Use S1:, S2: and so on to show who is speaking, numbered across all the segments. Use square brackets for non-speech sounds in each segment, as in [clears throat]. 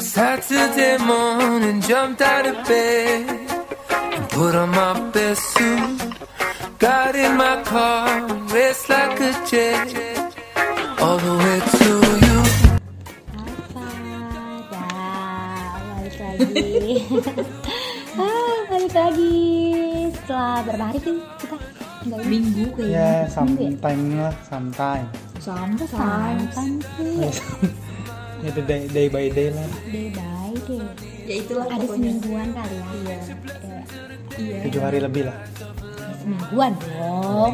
S1: Saturday morning, jumped out of bed and put on my best suit. Got in my car, and raced like a jet, all the way to you.
S2: Apa? Ya, balik
S3: [laughs]
S2: lagi. ah, balik lagi setelah berapa hari sih kita? Enggak ini.
S3: minggu kayaknya
S4: Ya, sometime lah, sometime.
S3: sampai
S2: Sampai sih.
S4: Itu day, day by day lah.
S2: Day by day.
S3: ya itulah
S2: Ada
S3: pokoknya
S2: semingguan kali ya. Iya.
S3: iya
S4: Tujuh hari lebih lah.
S2: Semingguan
S4: [laughs]
S2: dong.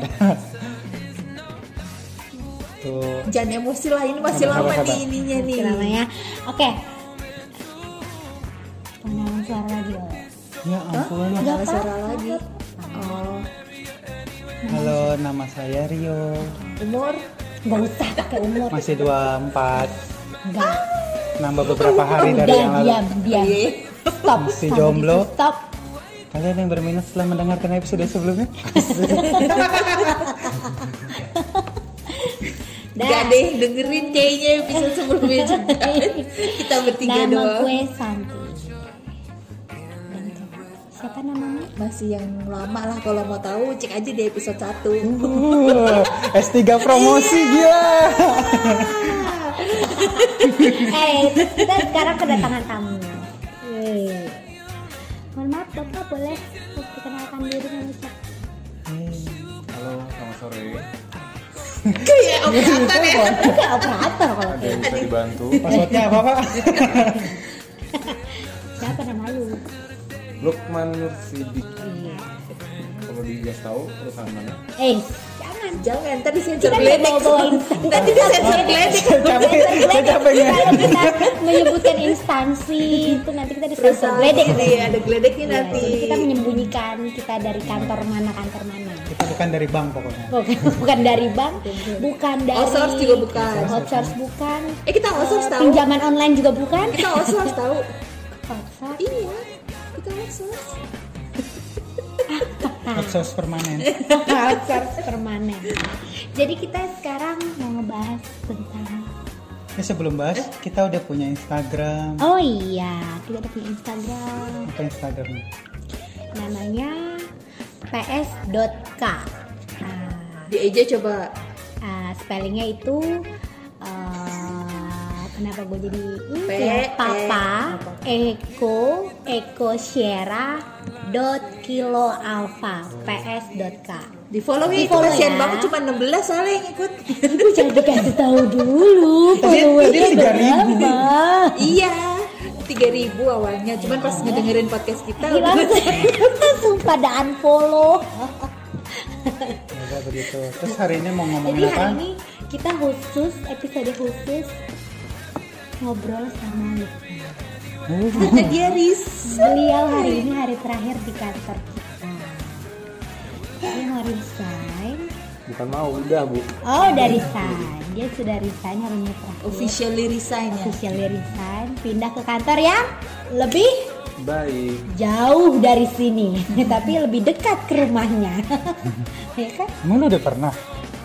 S4: Tuh.
S3: jangan emosi lah ini masih
S4: Sabar,
S3: lama
S4: sabar,
S3: nih
S4: sabar.
S3: ininya nih
S2: Namanya. Oke. Pengenalan suara lagi loh.
S4: Ya ampun.
S2: Nggak
S3: Ada suara
S2: apa-apa.
S3: lagi oh
S4: Halo, nama saya Rio.
S3: umur
S2: Gak usah pakai umur.
S4: Masih 24.
S2: Enggak.
S4: Nambah beberapa hari dari
S2: Udah
S4: yang lalu.
S2: diam, diam.
S3: Iya.
S2: Stop.
S4: Masih
S2: Sampai
S4: jomblo.
S2: di situ. Stop.
S4: Kalian yang berminat setelah mendengarkan episode sebelumnya?
S3: Gak deh dengerin kayaknya episode
S2: [laughs]
S3: sebelumnya juga kita bertiga
S2: Nama
S3: doang
S2: gue Santi. Dan siapa- Siapa namanya?
S3: masih yang lama lah kalau mau tahu cek aja di episode
S2: Hmm.
S3: 1
S4: Uh, S3 promosi gila.
S2: eh, kita sekarang kedatangan tamu. Yeay. Mohon maaf, Bapak boleh dikenalkan diri dengan siapa?
S5: Halo, selamat sore.
S3: kayak operator ya
S2: Bukan operator kalau gitu. kayak
S5: Ada yang bisa dibantu?
S4: Passwordnya apa, Pak?
S2: siapa nama lu?
S5: Lukman Nur Sidik.
S2: Iya.
S5: Kalau di Gas tahu perusahaan mana?
S2: Eh,
S3: jangan jangan tadi sensor
S2: kita nggak
S3: geledek
S2: mau bawain
S3: tadi di sensor geledek
S4: Capek, saya capek ya.
S2: kalau kita menyebutkan instansi itu nanti kita disensor geledek.
S3: Jadi ada geledeknya
S2: Iya,
S3: nanti
S2: jadi kita menyembunyikan kita dari kantor mana kantor mana.
S4: Kita bukan dari bank pokoknya.
S2: Bukan, [laughs] bukan dari bank, bukan dari
S3: Outsource juga bukan.
S2: outsource bukan,
S3: eh kita outsource tahu
S2: pinjaman online juga bukan.
S3: kita outsource tahu [laughs]
S2: Outsource.
S3: iya kita outsource
S4: Outsource permanen.
S3: Iya.
S2: outsource permanen. Jadi kita sekarang mau ngebahas tentang
S4: Ya, sebelum bahas, kita udah punya Instagram.
S2: Oh iya, kita ada punya Instagram
S4: Apa Instagramnya?
S2: namanya ps.k. Nah,
S3: di aja coba
S2: ah, spellingnya itu eh, kenapa gue jadi ini
S3: P,
S2: ya?
S3: E,
S2: Papa Eko Eko Sierra dot kilo alpha ps.k.
S3: di follow ya itu
S2: Di-follow
S3: kasihan
S2: ya.
S3: banget cuma 16 soalnya yang ikut
S2: Itu jangan dikasih tahu dulu. followernya
S4: tadi 3.000.
S2: berapa?
S3: iya 3000 awalnya cuman pas
S2: Iya.
S3: ngedengerin podcast kita Ah, udah
S2: hilang langsung pada unfollow
S4: Ya, begitu. Terus hari ini mau
S2: jadi
S4: ngomongin apa?
S2: hari Iya, ini kita khusus episode khusus ngobrol sama Lukman
S3: karena dia ris
S2: beliau hari ini hari terakhir di kantor kita dia mau resign
S5: Bukan mau, udah bu.
S2: oh udah resign dia sudah resign hari ini terakhir
S3: officially resign ya
S2: officially resign pindah ke kantor yang lebih
S5: Baik.
S2: jauh dari sini [laughs] tapi lebih dekat ke rumahnya [laughs] ya kan
S4: Emang lu udah pernah?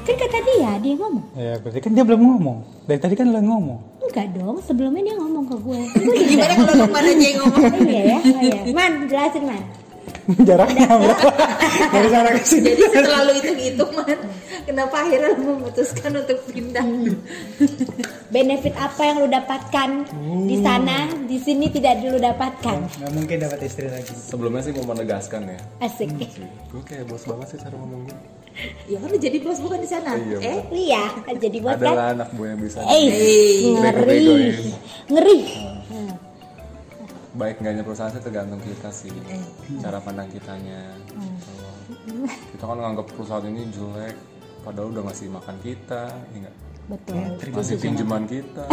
S2: kan kata dia dia ngomong
S4: Ya berarti kan dia belum ngomong. Dari tadi kan lo ngomong.
S2: Enggak dong, sebelumnya dia ngomong ke gue.
S3: gimana kalau Lukman aja yang ngomong
S2: Oh [laughs] iya ya, oh iya. Man, jelasin man.
S4: Jaraknya [laughs] berapa? Dari sana ke sini.
S3: jadi setelah lu hitung-hitungan kenapa akhirnya lu memutuskan untuk pindah
S2: Benefit apa yang lu dapatkan di sana, di sini tidak dulu dapatkan.
S4: Gak mungkin dapat istri lagi.
S5: Sebelumnya sih mau menegaskan ya.
S2: Asik.
S5: Gue kayak bos banget sih cara ngomong gue.
S3: ya kan lu jadi bos bukan di sana
S5: Iya,
S3: eh
S2: Iya, jadi buat kan.
S5: Adalah anak buah yang bisa.
S2: Eh, ngeri.
S5: Bego-begoin.
S2: Ngeri.
S5: Baik enggaknya perusahaan sih tergantung kita sih. Cara pandang kitanya. Kalau Kita kan nganggap perusahaan ini jelek. Padahal udah ngasih makan kita, ya nggak?
S2: Betul.
S5: ngasih pinjaman kita.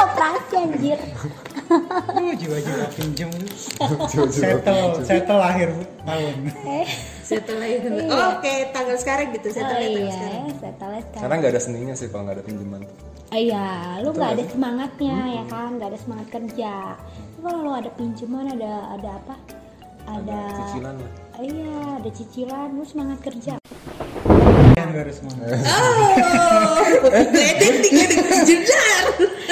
S2: Operasi anjir.
S4: Oh jiwa-jiwa pinjam. Settle, settle akhir tahun.
S2: Eh,
S3: setelah itu oh, oke tanggal sekarang
S2: Iya.
S3: gitu
S2: oh
S3: setelah itu
S2: iya,
S3: sekarang
S2: setelah sekarang.
S5: Karena nggak ada seninya sih kalau nggak ada pinjaman.
S2: Ah, Iya, lu nggak ada semangatnya ya kan, nggak ada semangat kerja. Tapi Kalau lu ada pinjaman, ada ada apa? Ada,
S5: Cicilan lah.
S2: iya, ada cicilan, lu semangat kerja.
S4: Kan baru semangat.
S3: oh geledek tiga jenar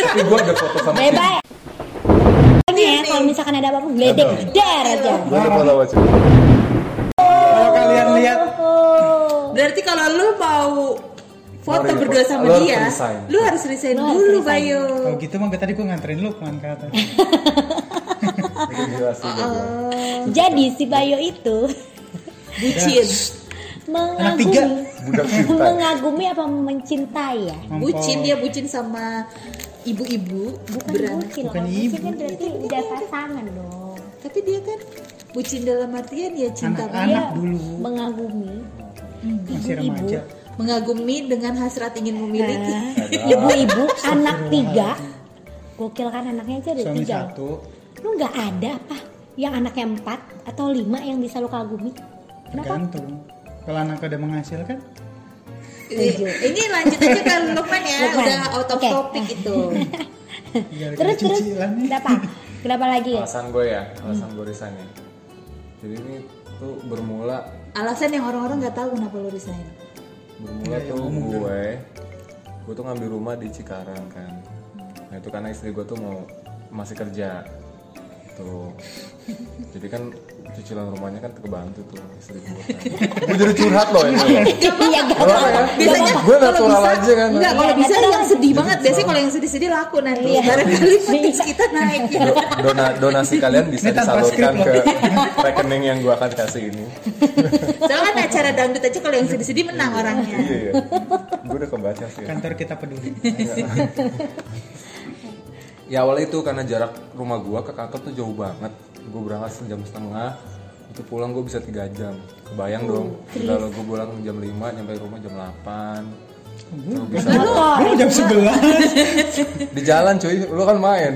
S5: Tapi gue ada foto sama
S2: Bye bye. misalkan ada apa-apa gledek der aja
S5: Gue udah follow aja.
S4: Kalau kalian lihat
S2: oh
S3: Berarti kalau lu mau foto
S5: Sorry,
S3: berdua
S5: Pak.
S3: sama
S5: Lu harus
S3: dia,
S5: resign.
S3: lu harus resign
S2: Lu harus
S3: dulu,
S2: resign.
S3: Bayu.
S4: kalau gitu mah tadi gue nganterin Lukman ke atas.
S5: Bikin gila sih gue.
S2: jadi si Bayo itu
S3: Bucin.
S4: Anak tiga.
S2: mengagumi
S5: Budak cinta.
S2: mengagumi apa mencintai ya
S3: Bucin dia bucin sama ibu-ibu
S2: bukan
S3: beranak.
S2: bucin loh
S4: Bukan
S2: kalau bucin
S4: ibu.
S2: kan berarti udah pasangan dong
S3: Tapi dia kan bucin dalam artian ya cinta
S4: Anak-anak.
S2: dia
S4: dulu.
S2: mengagumi
S4: Masih remaja.
S3: mengagumi dengan hasrat ingin memiliki.
S2: Ah. ibu-ibu anak tiga gokil kan anaknya aja ada
S4: Suami
S2: tiga
S4: satu.
S2: lu nggak ada apa yang anaknya empat atau lima yang bisa lu kagumi kenapa
S4: Tergantung. Kalau anak udah menghasilkan,
S3: Ini ini lanjut aja ke Lukman ya,
S2: Lukman.
S3: udah out of
S2: Oke.
S3: topic gitu. itu.
S4: gara-gara
S2: terus terus
S4: cicilannya.
S2: kenapa kenapa
S4: [laughs]
S2: lagi
S5: Alasan gue ya, alasan gue resign ya. Jadi ini tuh bermula
S3: Alasan yang orang-orang nggak tahu kenapa lu resign.
S5: bermula tuh gue gue tuh ngambil rumah di Cikarang kan nah itu karena istri gue tuh mau masih kerja [laughs] tuh jadi kan cicilan rumahnya kan kebantu tuh istri gue kan. [laughs] gue jadi curhat loh ini
S2: iya gak
S5: Gak apa-apa
S2: apa-apa.
S5: ya? Gue natural aja kan.
S3: Enggak, kalau
S2: Iya,
S3: bisa
S2: natural. Iya.
S3: yang sedih banget. Biasanya kalau yang sedih-sedih laku nanti. Barangkali podcast kita naik. gitu.
S5: Do- dona- donasi kalian bisa
S4: Ini tanpa
S5: disalurkan
S4: skrip
S5: ke rekening yang gue akan kasih ini
S3: Soalnya kan acara dangdut aja kalau yang sedih-sedih menang orangnya.
S5: iya iya gue udah kebaca sih
S4: Kantor kita peduli.
S5: ya awalnya itu karena jarak rumah gua ke kantor tuh jauh banget gue berangkat sejam setengah itu pulang gue bisa tiga jam kebayang dong kalau gue pulang jam 5 nyampe rumah jam 8 Terus bisa
S4: Gue jam 11.
S5: di jalan cuy lu kan main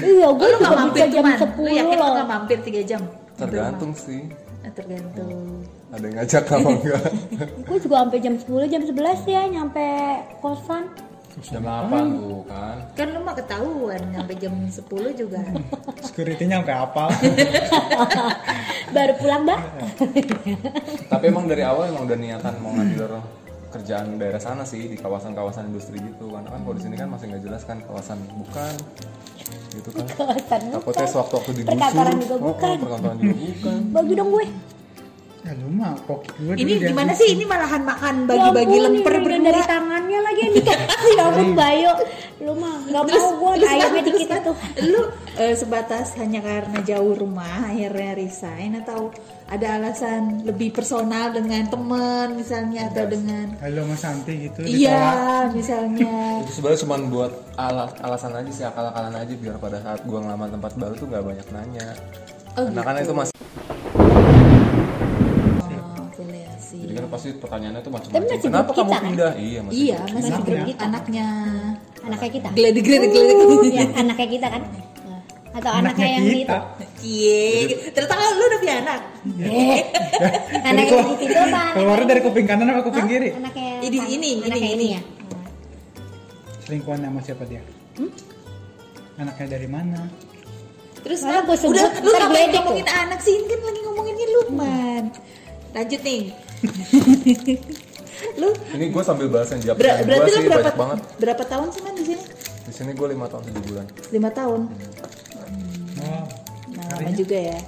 S2: iya gue
S3: Lu
S2: juga
S3: nggak mampir
S2: bisa jam
S3: cuman. Lu
S2: sepuluh
S3: yakin lu
S2: loh
S3: nggak mampir 3 jam?
S5: tergantung sih
S3: Ah, Tergantung.
S5: ada yang ngajak apa enggak
S2: gue juga sampai jam 10 jam 11 ya nyampe kosan
S5: jam 8 gue kan
S3: Kan lu mah ketahuan sampai jam 10 juga.
S4: Security-nya sampai apal.
S2: baru pulang
S4: [laughs]
S2: mbak
S5: tapi emang dari awal emang udah niatan mau ngambil orang kerjaan daerah sana sih di kawasan-kawasan industri gitu karena kan kalau di sini kan masih nggak jelas kan kawasan bukan gitu kan
S2: kosan
S5: takutnya sewaktu-waktu digusur
S2: Perkantoran juga
S5: Oh, oh,
S2: bukan.
S5: perkantoran juga bukan
S2: bagi dong gue
S4: Ya lu mah pok gue
S3: Ini
S4: dulu
S3: gimana
S4: diambil.
S3: sih? Ini malahan makan bagi-bagi
S2: Ya ampun,
S3: lemper
S2: ini udah
S3: berdua.
S2: dari tangannya lagi yang dikasih ya ampun Bayo lu mah nggak mau gue
S3: terus kan-
S2: ayamnya
S3: terus
S2: dikit
S3: kan,
S2: itu
S3: Lu eh, sebatas hanya karena jauh rumah akhirnya resign atau ada alasan lebih personal dengan teman misalnya atau dengan
S4: Kalau sama Santi gitu ditolak.
S3: iya misalnya
S5: itu sebenarnya cuma buat alas alasan aja sih akal-akalan aja biar pada saat gua ngelamar tempat baru tuh nggak banyak nanya
S3: Oh,
S5: karena kan itu masih
S3: oh, boleh sih.
S5: jadi kan pasti pertanyaannya tuh
S2: Tapi
S5: macam-macam
S2: masih
S5: kenapa
S2: grup
S5: kamu
S2: kita, kan?
S5: pindah iya masih
S3: Iya,
S5: grup.
S3: masih
S2: Anaknya.
S3: grup
S5: ya?
S3: anaknya
S2: anaknya kita
S3: geledek geledek geledek.
S2: ya anaknya kita kan atau anaknya,
S4: Anaknya
S2: yang di itu Eh,
S4: kita.
S3: Cie, ternyata kan lu udah punya anak.
S2: anaknya yang di Ah, situ apa
S4: Keluarnya dari kuping kanan apa kuping kiri?
S2: anaknya
S3: Ini, ini, ini,
S2: anaknya
S3: ini.
S2: ya
S4: Selingkuhan sama siapa dia?
S2: Hmm?
S4: Anaknya dari mana?
S3: Terus
S2: Malah
S3: nah,
S2: gua sebut,
S3: udah lu
S2: ntar
S3: ngapain
S2: geledek
S3: ngomongin anak sih Ini kan lagi ngomonginnya Lukman. Lanjut
S5: [laughs]
S3: nih. lu
S5: ini gue sambil bahas yang
S3: ber-
S5: jawab gue
S3: berarti lu
S5: sih
S3: berapa
S5: banyak banget
S3: berapa tahun sih man di sini?
S5: di sini gue lima tahun tujuh bulan
S3: Lima tahun.
S2: Hmm.
S4: Wow.
S3: Nah, lama juga ya.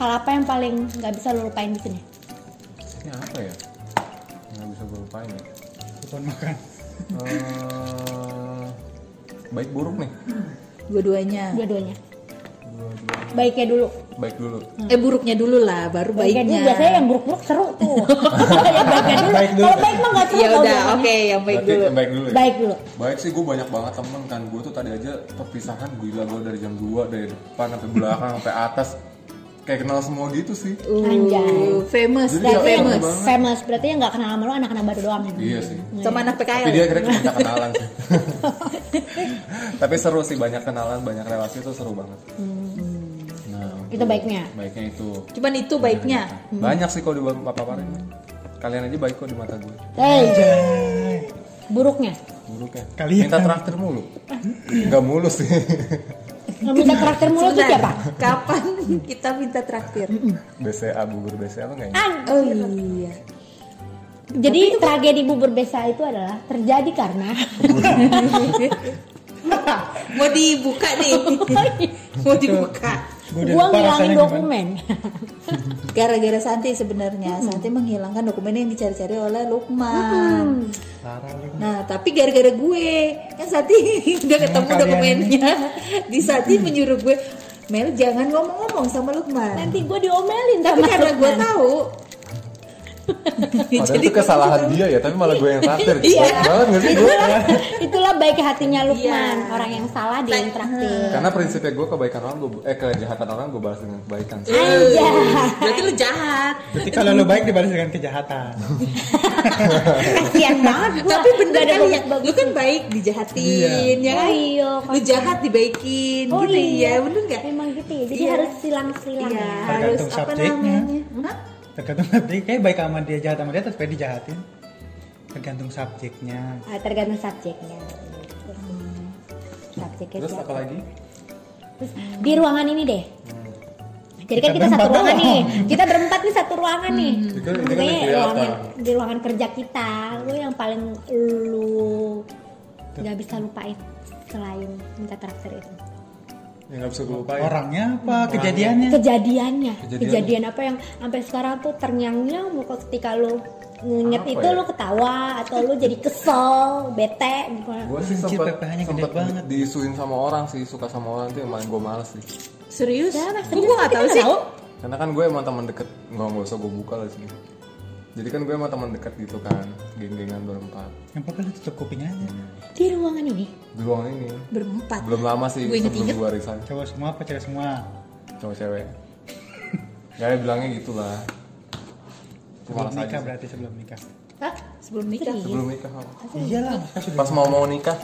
S2: hal apa yang paling nggak bisa lu lupain di sini
S5: ini apa ya nggak bisa gue lupain ya
S4: Kupon makan.
S5: Eh, baik buruk nih
S3: Dua-duanya.
S2: dua-duanya baiknya dulu
S5: baik dulu
S3: Eh buruknya dulu lah, baru
S2: baiknya dulu
S3: baiknya.
S2: biasanya yang buruk-buruk seru [laughs] tuh ya baiknya dulu
S4: Baik dulu.
S2: kalau baik mah nggak seru
S3: Ya
S2: tau
S3: udah,
S2: biasanya.
S3: oke, yang baik
S5: Berarti
S3: dulu.
S5: yang baik dulu ya?
S2: baik dulu
S5: Baik sih gue banyak banget temen kan Gue tuh tadi aja perpisahan gila gue dari jam 2 Dari depan sampai belakang sampai atas Kayak kenal semua gitu sih
S2: Anjay.
S3: Uh, famous,
S5: Jadi
S3: dia
S2: Berarti yang
S3: famous.
S5: banget.
S2: famous berarti yang nggak kenal sama lu anak-anak baru doang. ya?
S5: Iya sih
S3: Sama anak PKL.
S5: Tapi dia kira kita kenalan sih [laughs] Tapi seru sih banyak kenalan banyak relasi itu seru banget Nah
S2: Itu baiknya.
S5: Baiknya itu
S3: Cuman itu
S5: Iya,
S3: baiknya.
S5: Banyak sih kalau di paparin Kalian aja baik kok di mata gue
S2: Hey, Eh.
S4: Anjay.
S2: buruknya.
S5: Buruknya
S4: Kalian.
S5: ya. Minta traktir mulu Gak mulu sih [laughs]
S2: Yang minta karakter mulu tuh siapa?
S3: Sebentar, Kapan kita minta traktir?
S5: BCA bubur BCA apa gak ini?
S2: An.
S3: Oh iya.
S2: Jadi tragedi bubur besa itu adalah terjadi karena
S3: Mau dibuka nih.
S2: Oh, iya.
S3: Mau dibuka.
S2: Gua ngilangin dokumen.
S3: Gara-gara Santi sebenarnya. Santi menghilangkan dokumen yang dicari-cari oleh Lukman.
S4: Parah lu.
S3: Nah, tapi gara-gara gue, kan Sati [laughs] udah ketemu
S4: kalian
S3: dokumennya. Di Sati menyuruh gue, Mel jangan ngomong-ngomong sama Lukman.
S2: Nanti gue diomelin
S3: Tapi
S2: sama
S3: karena gue
S2: Lukman.
S3: tahu.
S5: Padahal itu kesalahan dia ya, tapi malah gue yang traktir.
S3: [laughs] Iya.
S5: Jelek banget nggak sih
S3: [laughs]
S5: gue?
S2: Itulah, itulah baik hatinya Lukman.
S3: Iya. hmm.
S2: Orang yang salah dia yang traktir.
S5: Karena prinsipnya gue kebaikan orang gue eh kejahatan orang gue balas dengan kebaikan.
S3: Iya.
S2: Anjay.
S3: Berarti lu jahat.
S4: Jadi kalau lu baik dibalas dengan kejahatan.
S2: Kasian banget gue.
S3: Tapi bener
S2: ada
S3: kali ya,
S2: bagus.
S3: lu kan baik dijahatin, ya
S2: Oh
S3: kan?
S2: iya,
S3: Lu jahat dibaikin,
S2: Oh
S3: gitu
S2: iya.
S3: ya, bener nggak?
S2: Memang gitu ya. Jadi
S3: Iya.
S2: harus silang-silang
S3: Iya,
S2: ya.
S3: harus
S4: Tergantung
S3: apa
S4: subjeknya.
S3: namanya? Hah?
S4: Tergantung nanti kayak baik sama dia jahat sama dia tapi dijahatin. Tergantung subjeknya.
S2: Ah, tergantung subjeknya. Subjeknya
S5: Terus
S2: siapa.
S5: apa lagi?
S2: Terus di ruangan ini deh. Jadi kan
S4: Kita
S2: kita satu
S4: berempat
S2: ruangan
S4: doang.
S2: nih. Kita berempat nih satu ruangan nih.
S5: Itu- itu kan
S2: Makanya
S5: yang kelihatan.
S2: ruangan, di ruangan kerja kita, lu yang paling lu nggak bisa lupain selain minta traktir itu.
S5: Yang nggak bisa gue lupain.
S4: Orangnya apa? Kejadiannya?
S2: Kejadiannya,
S5: Kejadian.
S2: kejadian apa yang sampai sekarang tuh terngiang-ngiang muka ketika lu nginget
S5: Apa
S2: itu
S5: ya?
S2: lu ketawa atau lu jadi kesel, bete gitu.
S5: Gue sih
S4: Anjir,
S5: sempet
S4: PPH-nya gede
S5: sempet
S4: banget.
S5: diisuin sama orang sih suka sama orang tuh yang paling gue males sih.
S3: Serius?
S2: serius,
S3: Gue
S2: kita
S3: gak tau
S2: nggak
S3: sih.
S2: tahu.
S5: Karena kan gue emang teman deket nggak nggak usah gue buka lah sih. Jadi kan gue emang teman deket gitu kan, geng-gengan berempat.
S4: Yang pokoknya lu tutup kuping aja.
S2: Di ruangan ini.
S5: Di ruangan ini
S3: Berempat.
S5: belum lama sih
S3: Gue
S5: sebelum
S3: inget-inget.
S5: gue resign
S4: Cowok semua apa cewek semua?
S5: cowok cewek.
S3: [laughs]
S5: ya bilangnya gitulah.
S4: Sebelum
S5: Malas aja
S4: nikah
S5: sih.
S4: berarti sebelum nikah.
S2: Hah?
S3: Sebelum nikah.
S5: Sebelum nikah. Om.
S4: Iyalah, nikah Kan sudah.
S5: Pas mau mau nikah.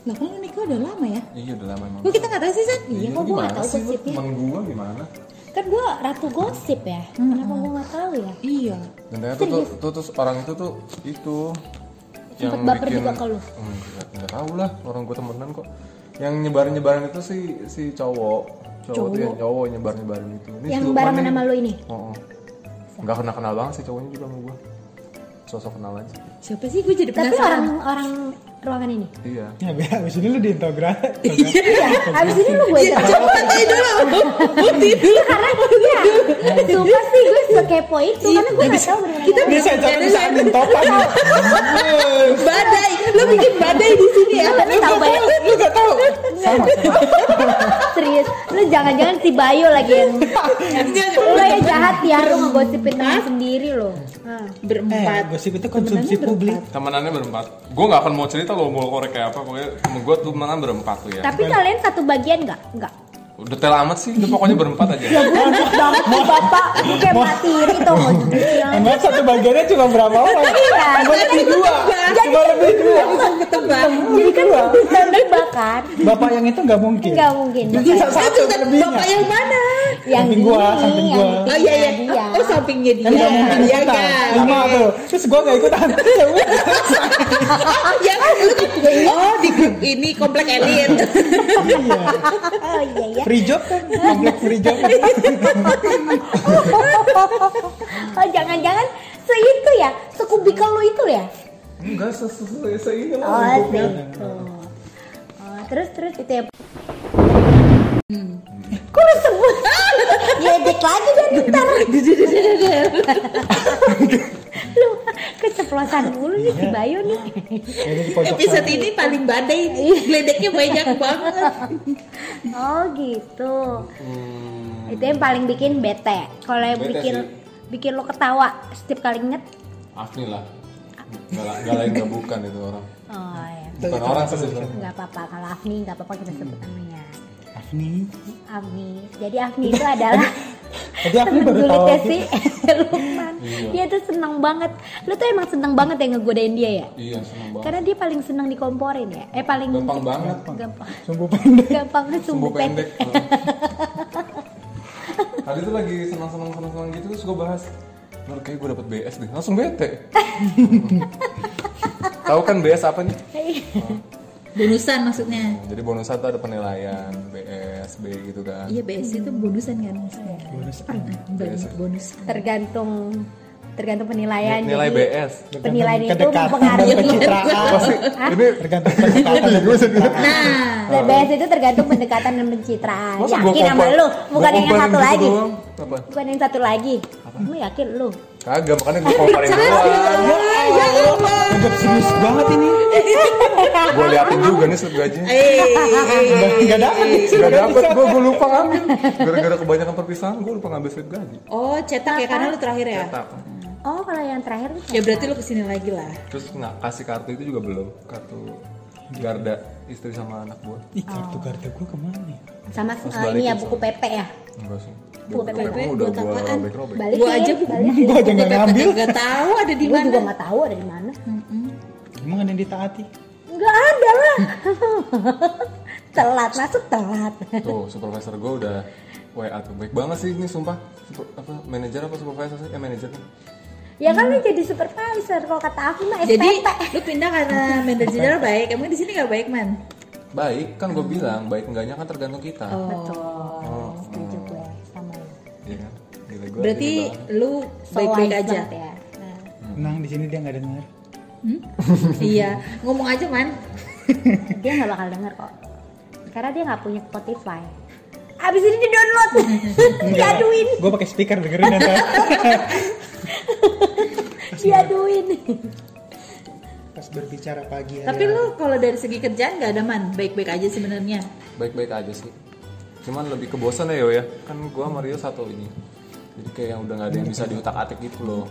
S3: Nah, kan lu nikah udah lama ya?
S5: Iya udah lama emang.
S3: Kok kita gak tau sih, San?
S2: Iya,
S5: Iya,
S2: kok gue gak
S5: gimana
S2: tau
S5: sih lu
S2: gosipnya?
S5: temen gue gimana?
S2: Kan gue ratu gosip ya, kenapa gue gak tau ya?
S3: Iya.
S5: Dan ternyata tuh, tuh, terus orang itu tuh itu
S2: Sempet baper juga ke lu?
S5: Hmm, nggak- nggak tahu lah orang gue temenan kok. Yang nyebarin nyebarin itu si si cowok cowok, tuh yang cowok nyebar nyebarin itu. Ini
S2: Yang
S5: si Lukman
S2: barengan
S5: nih.
S2: sama lu ini?
S5: Oh, oh. nggak kenal kenal banget sih cowoknya juga sama gue. Sosok kenal aja.
S3: Siapa sih? Gue jadi
S2: Tapi
S3: penasaran.
S2: orang-orang ruangan ini?
S5: Iya.
S4: Ya, be- abis ini lu diintegrasi.
S2: Iya, abis ini lu gue terang
S3: Iya, Coba tanya dulu. Bukti dulu.
S2: Karena iya, sumpah sih gue sekepo itu Karena gue gak tau
S3: Iya. Kita
S2: bener-bener
S4: Ini saya
S3: Jadi,
S4: capek bisa ambil topan.
S3: badai. Lu bikin badai di sini ya.
S2: Tapi tahu banyak
S4: Lu gak tau. Sama, sama.
S2: serius Lu jangan-jangan si Bayu lagi yang
S3: Iya,
S2: Lu yang jahat ya, lu ngegosipin temen sendiri Nah, lo
S4: Eh,
S3: Berempat.
S4: gosip itu konsumsi publik.
S5: Temenannya berempat. Gue nggak akan mau cerita lo mau korek kayak apa. Pokoknya temen gue tuh temenan berempat tuh ya.
S2: Tapi kalian satu bagian gak? Enggak
S5: Detail amat sih. Udah pokoknya berempat aja.
S2: Gue ribet banget sih bapak, gue kayak matiri tau gak sih
S4: Emang satu bagiannya cuma berapa orang?
S2: Iya,
S4: Cuma lebih dua.
S3: kan
S4: Cuma lebih dua.
S3: Ketebak.
S2: Jadi kan bisa dibakar
S4: Bapak yang itu nggak mungkin.
S2: Enggak mungkin
S4: Jadi
S2: Bapak-
S4: satu
S3: kan Bapak
S4: lebihnya.
S3: yang mana?
S2: yang
S4: Samping gua, samping
S2: yang
S4: gua.
S2: ini
S3: Oh iya iya.
S2: dia.
S3: Oh sampingnya dia.
S4: Kan nggak mungkin
S3: Iya
S4: ikutan.
S3: kan.
S4: Lima tuh. Terus gua nggak ikutan. Ya udah.
S3: Oh, ya kan? Lu- Oh di grup ini komplek elit.
S4: Iya.
S2: oh iya ya
S4: Free job kan? Komplek free job.
S2: oh jangan-jangan se itu ya sekubikal lu itu ya
S5: Enggak sesuai se ini
S2: oh
S5: lah.
S2: se itu oh, terus terus itu ya Hmm. kok lu sebut [laughs] diedit lagi dan ntar lu keceplosan mulu nih
S5: Iya.
S2: si Bayu nih
S4: Ini di pojok
S3: Episode ini paling badai. Ledeknya banyak banget.
S2: oh gitu itu yang paling bikin bete kalau yang
S5: Hmm. Bete
S2: bikin
S5: sih.
S2: bikin lo ketawa setiap kali inget
S5: Afni lah. Gak, la- gak lain gak bukan itu orang.
S2: oh ya
S5: Bukan orang sih sebenarnya.
S2: nggak apa-apa kalau Afni nggak apa-apa kita sebut namanya
S4: Afni.
S2: Afni jadi Afni itu adalah
S5: [laughs]
S4: Tadi Afni
S2: temen
S4: baru tahu.
S2: julidnya [laughs] si Lukman
S5: Iya.
S2: dia tuh seneng banget lu tuh emang seneng banget ya ngegodain dia ya
S5: Iya seneng banget.
S2: karena dia paling seneng dikomporin ya eh paling
S5: Gampang banget.
S2: gampang [laughs]
S4: Sumbu pendek.
S2: gampang
S5: Sumbu
S2: sumbu [laughs]
S5: pendek.
S2: pendek
S5: Tadi tuh lagi senang senang senang senang gitu terus gue bahas. Nur kayak gue dapet BS deh. Langsung
S2: [laughs]
S5: bete. Tahu kan BS apa nih?
S3: Bonusan maksudnya.
S5: Jadi bonus satu ada penilaian BS B gitu
S2: Iya,
S5: kan.
S3: Iya BS itu bonusan kan maksudnya.
S4: Bonus.
S3: Pernah banyak bonus.
S2: tergantung tergantung penilaian.
S5: Nilai
S2: Jadi,
S5: BS.
S2: penilaian itu
S4: Kedekatan dan
S2: mempengaruhi.
S4: pencitraan.
S2: Hah?
S5: Ini
S4: Tergantung pendekatan dan pencitraan.
S2: Nah, BS itu tergantung pendekatan dan pencitraan.
S5: masa gua
S2: yakin sama
S5: kompa-
S2: lu, bukan
S5: gua
S2: yang
S5: komparin
S2: satu
S5: gitu
S2: lagi.
S5: doang? Apa?
S2: Bukan yang satu lagi. Lu yakin lu?
S5: Kagak, makanya gue
S2: [laughs]
S5: komparin doang.
S3: Iya,
S4: Agak Ya serius banget ini.
S5: Gue liatin juga nih slip gajinya.
S4: Enggak dapat.
S5: Gak dapet gue, gue lupa ngambil. Gara-gara kebanyakan perpisahan gue lupa ngambil slip gaji.
S3: Oh, cetak ya karena lu terakhir ya.
S5: Cetak.
S2: Oh, kalau yang terakhir tuh
S3: Ya berarti lu kesini lagi lah.
S5: Terus nggak kasih kartu itu juga belum. Kartu garda istri sama anak gue.
S3: Oh.
S4: Ih, kartu garda gue kemana ya?
S2: sama
S5: Harus
S2: eh, ini ya
S5: balikin,
S2: buku PP ya.
S5: Enggak sih.
S2: Buat
S5: Buku
S2: apa?
S5: udah
S3: Buat
S5: gue
S3: apaan?
S5: robek-robek.
S2: Balikin.
S3: Gua aja buku
S2: balikin.
S4: Gue aja nggak ngambil.
S3: Gak tahu ada di
S2: Gua juga
S3: mana.
S2: nggak tahu ada di mana.
S4: Emang ada yang ditaati?
S2: Nggak ada lah. [laughs] telat masuk telat.
S5: Tuh, supervisor gue udah WA tuh. Baik banget sih ini sumpah. Super, apa, manajer apa supervisor sih? Eh, manajer kan.
S2: Ya kan lu jadi supervisor kalau kata aku mah SPP.
S3: Jadi lu pindah karena manajernya baik. Emang di sini gak baik, Man?
S5: Baik, kan gue bilang. Baik enggaknya kan tergantung kita.
S2: Oh. Betul. Setuju gue sama lu.
S5: Iya kan? Gila gue.
S3: Berarti lu baik-baik
S2: Soal
S3: aja.
S2: license Ya. Nah.
S4: Tenang, di sini dia nggak dengar.
S3: Hmm? Iya, ngomong aja, Man.
S2: dia nggak bakal denger kok karena dia nggak punya Spotify abis ini di [laughs] download diaduin
S4: Gue pakai speaker dengerin ya, ada.
S2: diaduin
S4: Pas berbicara pagi. hari
S3: Tapi
S4: hari.
S3: lu kalau dari segi kerjaan gak ada, Man. Baik-baik aja sebenarnya.
S5: baik-baik aja sih cuman lebih ke bosan ya yo ya kan gua sama Rio satu ini jadi kayak yang udah nggak ada yang bisa diutak atik gitu loh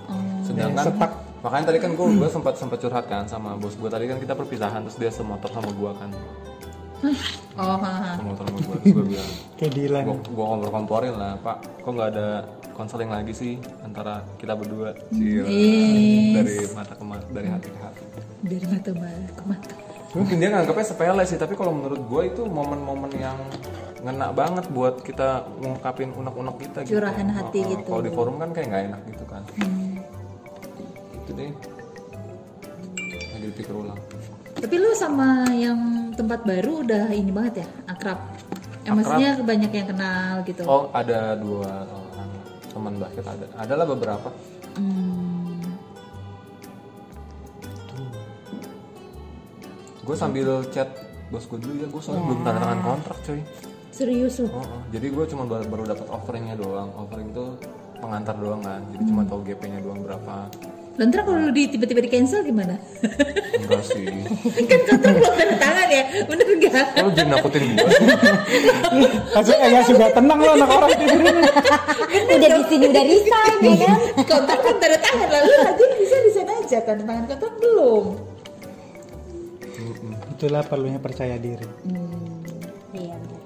S5: sedangkan
S4: Sepak.
S5: makanya tadi kan gua gua sempat sempat curhat kan sama bos gua tadi kan kita perpisahan terus dia semotor sama gua kan
S3: Oh, ha, ha.
S5: semotor sama gua terus gua bilang
S4: kayak Dilan.
S5: gua, gua ngobrol komporin lah pak kok nggak ada konseling lagi sih antara kita berdua sih dari mata ke mata dari hati ke hati
S3: Dari mata balik ke mata.
S5: mungkin dia nganggapnya sepele sih tapi kalau menurut gue itu momen-momen yang ngena banget buat kita ngungkapin unek-unek kita gitu
S3: Curahan hati
S5: Uh-uh.
S3: gitu.
S5: kalau di forum kan kayak nggak enak gitu kan
S3: Hmm.
S5: itu deh lagi dipikir ulang
S3: Tapi lu sama yang tempat baru udah ini banget ya, akrab. Ya, maksudnya banyak yang kenal gitu.
S5: oh ada dua orang teman basket ada adalah beberapa
S3: Hmm.
S5: gue sambil chat bos gue dulu ya gue soalnya belum tanda tangan kontrak coy
S3: Serius lu?
S5: Oh, oh. jadi gue cuma baru, baru dapat offeringnya doang offering itu pengantar doang kan jadi cuma tahu gp-nya doang berapa
S3: Dan ntar kalau lu di, tiba-tiba di cancel gimana? [laughs]
S5: enggak sih
S3: kan kontrak belum tanda tangan ya, bener gak?
S5: Lo jadi nakutin gue
S4: Langsung eh ya sudah tenang lo anak orang tidurin.
S2: udah di sini udah resign ya kan
S3: kontrak kan tanda tangan lalu aja bisa desain aja kan, tanda tangan kontrak belum.
S4: Itulah perlunya percaya diri.
S2: iya bener.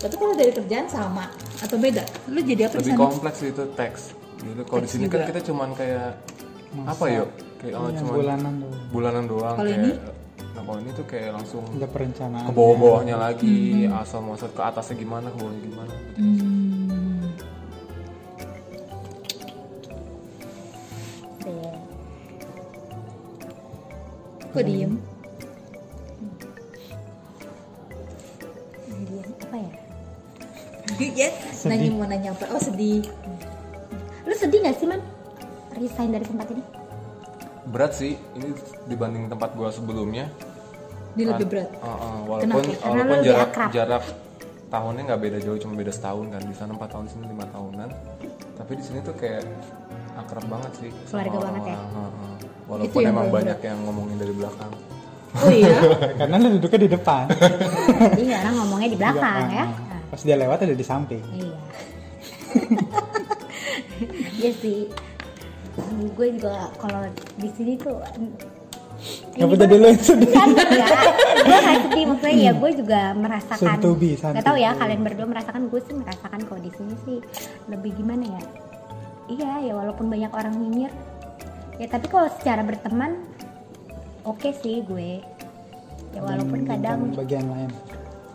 S3: Tapi kalau dari kerjaan sama atau beda? Lu jadi apa di
S5: lebih
S3: sana?
S5: kompleks itu teks gitu kalau di sini kan kita cuman kayak apa yuk kayak oh,
S4: Yang
S5: cuman
S4: Iya, bulanan tuh.
S5: bulanan doang
S3: Kalau
S5: kayak
S3: ini?
S5: nah kalau ini tuh kayak langsung
S4: Udah
S5: ke
S4: perencanaan.
S5: bawah-bawahnya lagi asal muasal ke atasnya gimana ke bawahnya gimana gitu.
S2: Iya.
S3: Kok diem?
S2: Ini dia, apa ya
S3: ya, nanya mau nanya apa? Oh sedih.
S2: lu sedih gak sih man resign dari tempat ini
S5: berat sih ini dibanding tempat gua sebelumnya
S3: Ini lebih berat.
S5: Uh, uh, walaupun
S2: ya? Karena
S5: walaupun
S2: lu lebih
S5: jarak
S2: akrab.
S5: jarak tahunnya nggak beda jauh cuma beda setahun kan di sana empat tahun di sini lima tahunan tapi di sini tuh kayak akrab banget sih sama
S2: Keluarga banget ya?
S5: orang-orang. Uh, uh. walaupun emang banyak yang ngomongin dari belakang
S3: Oh
S5: [laughs]
S3: iya.
S4: Karena lu duduknya di depan.
S2: jadi Iya, orang ngomongnya di belakang ya
S4: Nah, Pas dia lewat ada di samping.
S2: Iya. [laughs] Iya sih. Gue juga kalau di sini tuh
S4: Kenapa
S2: Ini
S4: jadi
S2: gue-
S4: lo yang sedih?
S2: Enggak, enggak. gue gak ya. sedih maksudnya ya gue juga merasakan
S4: Soon to be, soon
S2: Gak tau
S4: to
S2: ya
S4: be.
S2: kalian berdua merasakan gue sih merasakan kalau di sini sih lebih gimana ya iya ya walaupun banyak orang nyinyir ya tapi kalau secara berteman oke sih gue ya walaupun
S4: Hmm,
S2: kadang
S4: Dan bagian lain.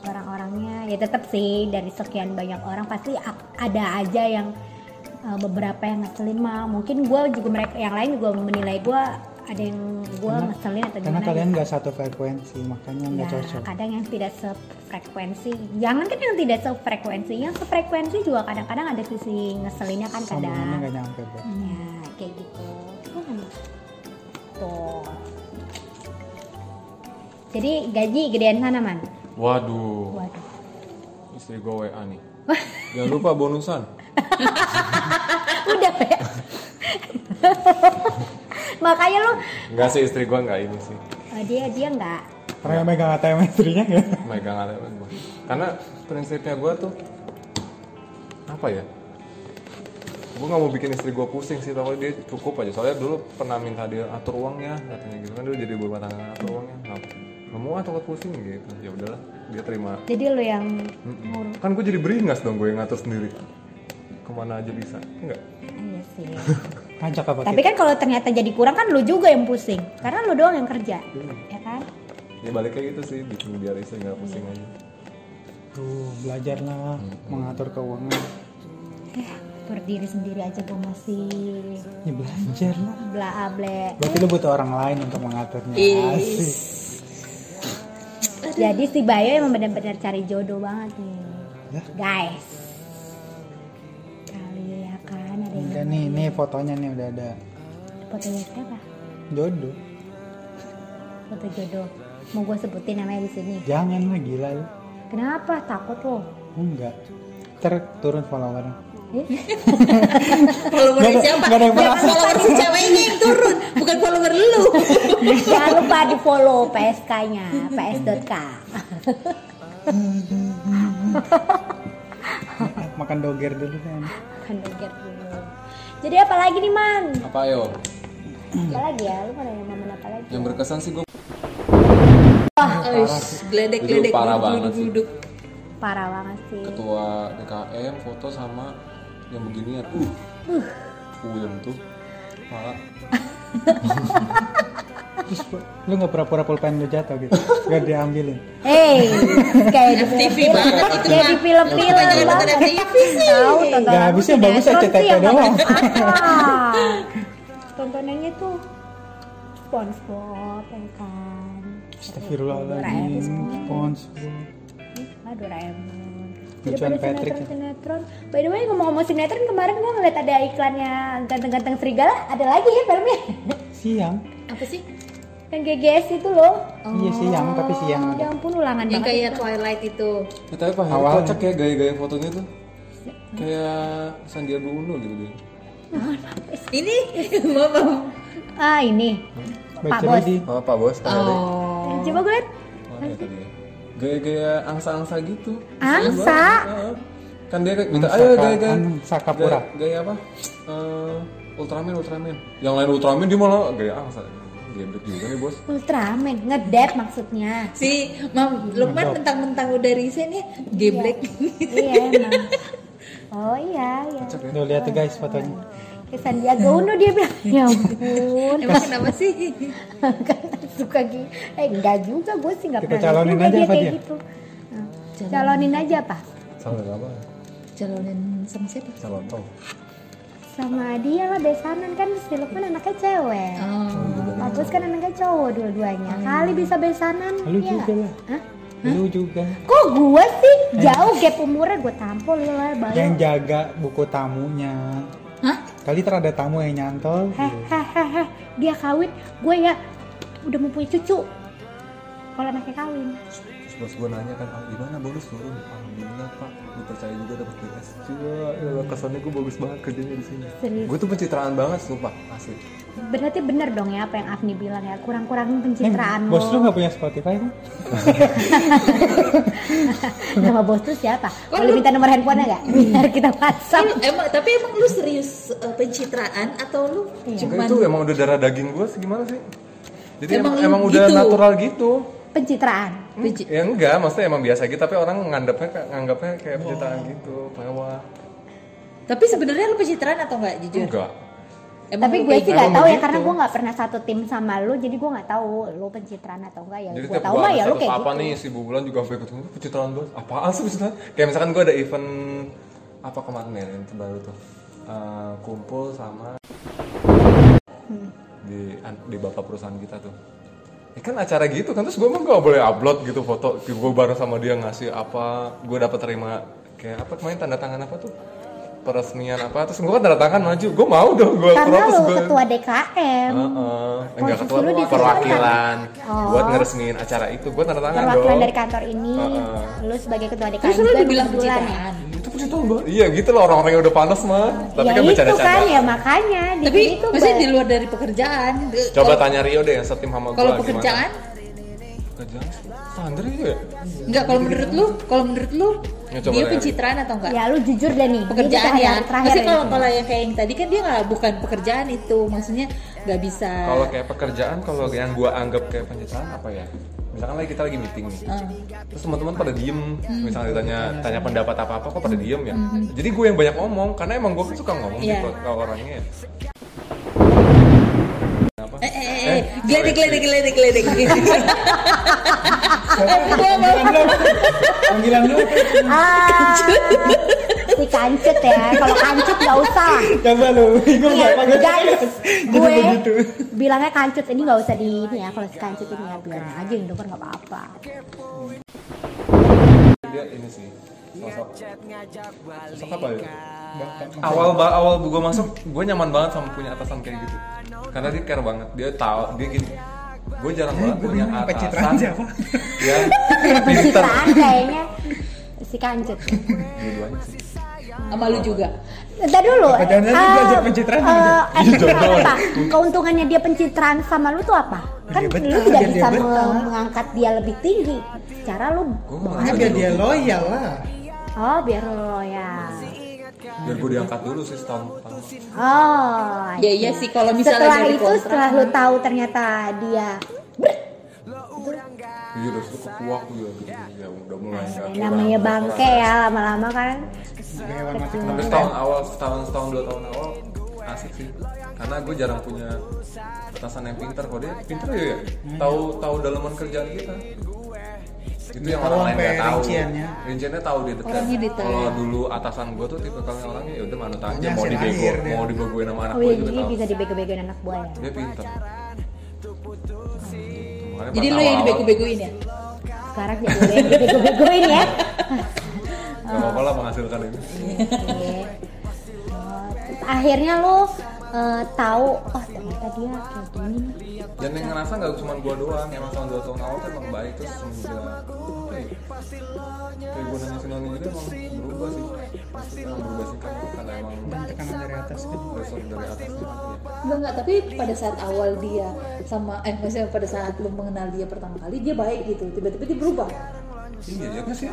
S2: orang-orangnya ya tetap sih dari sekian banyak orang pasti a- ada aja eh, yang uh, beberapa yang ngeselin mah mungkin gue juga mereka yang lain juga menilai gue ada yang gue
S4: Karena-
S2: ngeselin atau
S4: Karena
S2: gimana
S4: kalian
S2: gitu.
S4: nggak satu frekuensi, makanya nggak
S2: Ya,
S4: cocok.
S2: kadang yang tidak sefrekuensi jangan kan yang tidak sefrekuensi yang sefrekuensi juga kadang-kadang ada sisi ngeselinnya kan
S4: Sambungannya
S2: kadang
S4: nggak nyampe, Beb.
S2: ya kayak gitu Hmm. tuh jadi gaji gedean sana man
S5: Waduh,
S2: waduh
S5: istri gue WA
S2: [laughs]
S5: nih. Jangan lupa bonusan.
S2: udah ya [laughs] makanya lu
S5: Enggak sih istri gue nggak ini sih.
S2: oh, dia dia nggak
S4: Karena yang megang ATM istrinya nggak.
S5: Megang ATM gue. Karena prinsipnya gue tuh apa ya? Gue nggak mau bikin istri gue pusing sih, tapi dia cukup aja. Soalnya dulu pernah minta dia atur uangnya, katanya gitu kan dulu jadi ibu rumah tangga atur uangnya. Nggak nggak mau atau pusing gitu. Ya udahlah, dia terima.
S2: jadi lu yang
S5: Mm-mm. Kan gue jadi beringas dong, gue yang ngatur sendiri. Kemana aja bisa? Enggak.
S2: iya sih
S4: Ngajak apa
S2: tapi kan kalau ternyata jadi kurang kan lu juga yang pusing karena lu doang yang kerja
S4: Iya.
S2: ya kan
S5: Ya baliknya gitu sih, bikin biar istri nggak pusing aja.
S4: Tuh, belajarlah mengatur keuangan.
S2: Eh, berdiri sendiri aja gue masih
S4: Ya belajar lah.
S2: bla able
S4: Berarti lu butuh orang lain untuk mengaturnya. Asik.
S2: jadi si Bayo emang benar-benar cari jodoh banget nih
S4: Lah?
S2: guys kali ya kan ada yang
S4: Enggak nih, ini fotonya nih udah ada
S2: fotonya siapa
S4: jodoh.
S2: foto jodoh mau gue sebutin namanya di sini
S4: Jangan lah gila lu.
S2: kenapa takut lo
S4: Enggak. Ter turun followernya.
S3: follower
S4: Nggak ada-
S3: siapa?
S4: nggak ada yang
S3: Jangan
S4: merasa.
S3: follower si cewek ini yang turun, bukan follower lu.
S2: jangan lupa di follow PSK-nya ps.k
S4: Ah, Makan doger dulu kan.
S2: kan doger dulu jadi apa lagi nih man
S5: Apa yo?
S2: apa lagi ya lu mau nanya momen apa lagi
S5: Yang berkesan sih gue
S3: Eish, Geledek-geledek
S5: Itu parah banget sih.
S3: duduk-duduk.
S2: parah banget sih
S5: ketua DKM foto sama yang beginian. Uh. Uh yang tuh. Malah
S4: Terus lu nggak pura-pura pulpen lu jatuh gitu. Gak diambilin.
S3: [laughs]
S2: Hey, kayak di
S3: FTV
S2: film,
S3: banget itu
S2: kayak
S3: mah.
S2: di film-film
S3: Jangan nonton
S2: banget.
S3: FTV sih.
S2: Tahu tonton
S4: Ya, habisnya bagus aja CTT doang.
S3: [laughs]
S2: Tontonannya tuh SpongeBob ya kan.
S4: Astagfirullahaladzim. SpongeBob.
S2: Aduh ah, Doraemon.
S4: Lucuan
S2: Daripada
S4: Patrick ya.
S2: sinetron-sinetron. By the way ngomong-ngomong sinetron kemarin gua ngeliat ada iklannya ganteng-ganteng serigala. Ada lagi ya filmnya. Kan
S4: Siang.
S3: [laughs] Apa sih?
S2: Yang GGS itu loh.
S4: Iya siang, tapi siang
S2: Ya
S4: ada.
S2: ampun ulangan banget.
S3: Yang kayak Twilight itu.
S5: ya, tapi Pak Heri
S4: Awalnya.
S5: kocak ya gaya-gaya fotonya tuh. Kayak Sandiaga Uno gitu deh.
S3: Ini mama.
S2: Ah ini. Pak
S4: Baca
S2: Bos.
S4: lagi.
S5: Oh, Pak Bos, Pak Heri.
S3: Oh.
S2: Coba gue liat.
S5: Oh, iya tadi ya. Gaya-gaya angsa-angsa gitu.
S2: Angsa.
S5: Heeh. Kan dia kayak minta
S4: Angsa
S5: ayo
S4: Ka-
S5: gaya gaya.
S4: Angsa Kapura."
S5: Gaya, gaya apa? Eh, Ultraman, Ultraman. Yang lain Ultraman dia malah gaya angsa. Geblek juga nih bos.
S2: Ultraman ngedep maksudnya.
S3: Si Mam Lukman mentang-mentang udah resign ya, geblek.
S2: iya emang. Oh iya iya.
S5: Kocak ya.
S4: Tuh lihat tuh guys fotonya.
S2: Ke Sandiaga Uno dia bilang ya ampun
S3: [laughs] Emang kenapa sih?
S2: kan suka gitu. Eh enggak juga gue sih enggak
S4: Kita
S2: pernah lihat
S4: calonin
S2: juga
S4: aja apa
S2: kayak
S4: dia?
S2: Gitu. Nah, Calonin aja apa?
S5: Salah apa?
S3: Calonin sama siapa?
S5: Salah tau.
S2: Sama dia lah besanan kan si Lukman anaknya cewek.
S3: Oh.
S2: Bagus kan anaknya cowok dua-duanya. Kali bisa besanan.
S4: Lu
S2: iya
S4: juga
S2: nggak?
S4: lah. Eh.
S2: Hah?
S4: Lu juga.
S2: Kok gue sih jauh gap umurnya gue tampol lu lah bayu.
S4: Yang jaga buku tamunya.
S3: Hah?
S4: Kali ter ada tamu yang nyantol.
S5: Iya.
S2: Hehehe, dia kawin, gue ya udah mau punya cucu. Kalau anaknya kawin.
S5: Terus bos gue nanya kan, ah, gimana bonus turun? Alhamdulillah pak, dipercaya juga dapat PS. Cua, ya Allah, kesannya gue bagus banget kerjanya di sini.
S2: Serius.
S5: Gue tuh pencitraan banget, sumpah, asli.
S2: Berarti bener dong ya apa yang Afni bilang ya kurang-kurangin pencitraan
S4: Eh,
S5: Eh,
S4: Bos
S2: lo.
S4: lu gak punya Spotify kan?
S2: [laughs] Nama bos lu siapa?
S3: Kan
S2: Boleh minta nomor handphonenya
S3: [laughs]
S2: nggak?
S3: Iya.
S2: Biar kita WhatsApp.
S3: Emang tapi emang lu serius eh, pencitraan atau lu
S5: Enggak,
S3: cuman
S5: itu emang udah darah daging gue gimana sih? Jadi
S3: Emang
S5: emang, emang udah
S3: gitu?
S5: natural gitu.
S2: Pencitraan.
S5: Hmm, Ya enggak, maksudnya emang biasa gitu, tapi orang nganggapnya kayak nganggapnya kayak pencitraan
S3: Iya.
S5: gitu, mewah.
S3: Tapi sebenarnya lu pencitraan atau enggak jujur?
S5: Enggak.
S3: Emang
S2: Tapi
S3: lu
S2: gue
S3: kayak
S2: sih
S3: gitu?
S2: nggak
S5: Emang
S2: tahu ya
S5: begitu.
S2: karena gue nggak pernah satu tim sama lu, jadi gue nggak tahu lu pencitraan atau enggak ya.
S5: Jadi
S2: Gue
S5: tiap
S2: tahu
S5: gua
S2: mah
S5: ada
S2: ya lu
S5: status
S2: kayak
S5: apa
S2: gitu.
S5: nih si bulan juga sampai ikut "Ini pencitraan banget. Apaan sih pencitraan? Kayak misalkan gue ada event apa
S2: Hmm.
S5: kemarin ya, yang baru tuh Eh, kumpul sama di an- di bapak perusahaan kita tuh ya kan acara gitu kan terus gue emang gak boleh upload gitu foto gue bareng sama dia ngasih apa gue dapat terima kayak apa kemarin tanda tangan apa tuh peresmian apa terus gue kan tanda tangan maju gue mau dong gue
S2: Karena
S5: protes
S2: lu
S5: gue
S2: ketua DKM,
S5: Heeh. enggak
S2: Posisi
S5: ketua
S2: lu di situ kan
S5: perwakilan
S2: Oh.
S5: buat ngeresmiin acara itu gue tanda tangan
S2: perwakilan
S5: dong
S2: dari kantor ini,
S5: Heeh.
S2: lu sebagai ketua DKM
S3: Terus lu
S2: juga
S3: dibilang
S2: dua bulan Kan ya.
S3: pencitraan.
S5: itu pun itu Mbak. iya gitu loh orang-orang yang udah panas mah
S2: ya
S5: tapi kan
S2: itu
S5: bercanda-canda
S2: kan ya makanya di
S3: Tapi
S2: sini tuh
S3: maksudnya
S2: ber-
S3: di luar dari pekerjaan. Ge-
S5: coba
S3: kalau-
S5: tanya Rio deh yang setim sama gue
S3: Kalau pekerjaan,
S5: pekerjaan standar itu ya
S2: Nah.
S3: enggak kalau menurut lu, kalau menurut lu
S5: Ya, coba
S3: dia
S5: dari-
S3: pencitraan atau enggak?
S2: ya lu jujur deh nih ini
S3: pekerjaan
S2: kita
S3: ya.
S2: yang terakhir
S3: Maksudnya
S2: nih.
S3: kalau kalau yang kayak yang tadi kan dia nggak bukan pekerjaan itu, maksudnya nggak bisa.
S5: kalau kayak pekerjaan kalau yang gue anggap kayak pencitraan apa ya misalkan lagi kita lagi meeting nih
S3: eh,
S5: terus teman-teman pada diem
S2: Hmm.
S5: misalnya ditanya tanya pendapat apa apa kok pada diem ya jadi gue yang banyak ngomong karena emang gue suka ngomong
S3: Iya.
S5: gitu kalau orangnya ya. Apa?
S3: Eh, eh, eh, eh,
S5: Nah,
S3: geledek, geledek, geledek, geledek. [laughs]
S2: eh, iya,
S4: Panggilan lu, panggilan lu,
S2: ah si kancut ya kalau kancut nggak usah lah.
S4: coba lu, bingung
S2: Iya,
S4: gak panggilan
S2: guys,
S4: Gitu
S2: gue
S4: begitu.
S2: bilangnya kancut ini nggak usah di ini ya kalau si kancut ini ya biar aja yang denger nggak apa-apa.
S5: dia ini sih sosok sosok apa ya awal ba- awal gue masuk gue nyaman banget sama punya atasan kayak gitu karena dia care banget dia tahu dia gini gue jarang banget
S4: Gue
S5: punya
S4: bingung apa citraan
S5: atasan
S4: siapa?
S5: ya pinter
S2: Pencitraan kayaknya si kancut.
S5: Dua-duanya sih.
S3: Sama lu juga.
S2: Entar dulu.
S4: Apa jangan-jangan dia
S2: eh,
S4: belajar pencitraan
S2: eh,
S4: gitu?
S2: eh,
S5: Iya, jangan.
S2: apa? Keuntungannya dia pencitraan sama lu tuh apa? Kan lu
S4: Dia betah,
S2: tidak
S4: biar
S2: bisa
S4: dia betah.
S2: me- mengangkat dia lebih tinggi. Cara lu
S5: Gua gitu.
S4: Karena
S5: merasa
S4: biar
S5: dulu-
S4: dia loyal lah.
S2: oh biar lu loyal.
S5: biar gue diangkat dulu sih setahun pertama
S2: Oh. I
S3: Ya iya
S2: see.
S3: sih kalau misalnya
S2: setelah
S3: dari
S2: itu
S3: kontrak.
S2: setelah lu tahu ternyata dia
S5: iya udah suka kuak ya gitu ya udah mulai
S2: eh,
S5: nggak-
S2: namanya
S5: kurang-
S2: bangke ya lama-lama kan
S4: Hewan mati
S5: kurang. tapi setahun awal setahun setahun dua tahun awal asik sih karena gue jarang punya atasan yang pinter kok dia pinter ya
S4: Hmm.
S5: tahu tahu dalaman kerjaan kita itu yang
S4: tahu
S5: orang lain
S4: sampai
S5: nggak tahu
S4: rinciannya.
S5: rinciannya tahu dia detail
S3: Orangnya detail.
S5: kalau dulu atasan gue tuh tipe kalau orangnya ya udah manut aja
S4: Hasil
S5: mau dibego
S4: akhir dia.
S5: mau dibegoin sama anak
S2: oh
S5: gue
S2: iya
S5: juga
S2: jadi
S5: tahu
S2: bisa dibego-begoin anak buah ya
S5: dia pinter Makanya
S3: Jadi lu yang
S5: pas awal-awal-
S3: dibego-begoin ya.
S2: sekarang jadi bego- bego-begoin ya
S5: Gak apa-apa lah menghasilkan ini
S2: Oke. Oh, terus akhirnya lu eh, tahu oh ternyata dia kayak gini nih.
S5: Dan yang ngerasa gak cuma gua doang Emang tahun dua tahun awal tuh emang baik Terus semenjak apa ya, Kayak gue nanya sinoni itu emang berubah sih Emang berubah sih kan Karena emang
S4: Dan tekanan dari atas kan.
S5: pressure dari atas gitu ya.
S3: Enggak, enggak, tapi pada saat awal dia sama eh maksudnya pada saat lu mengenal dia pertama kali dia baik gitu. Tiba-tiba dia berubah.
S5: Iya juga sih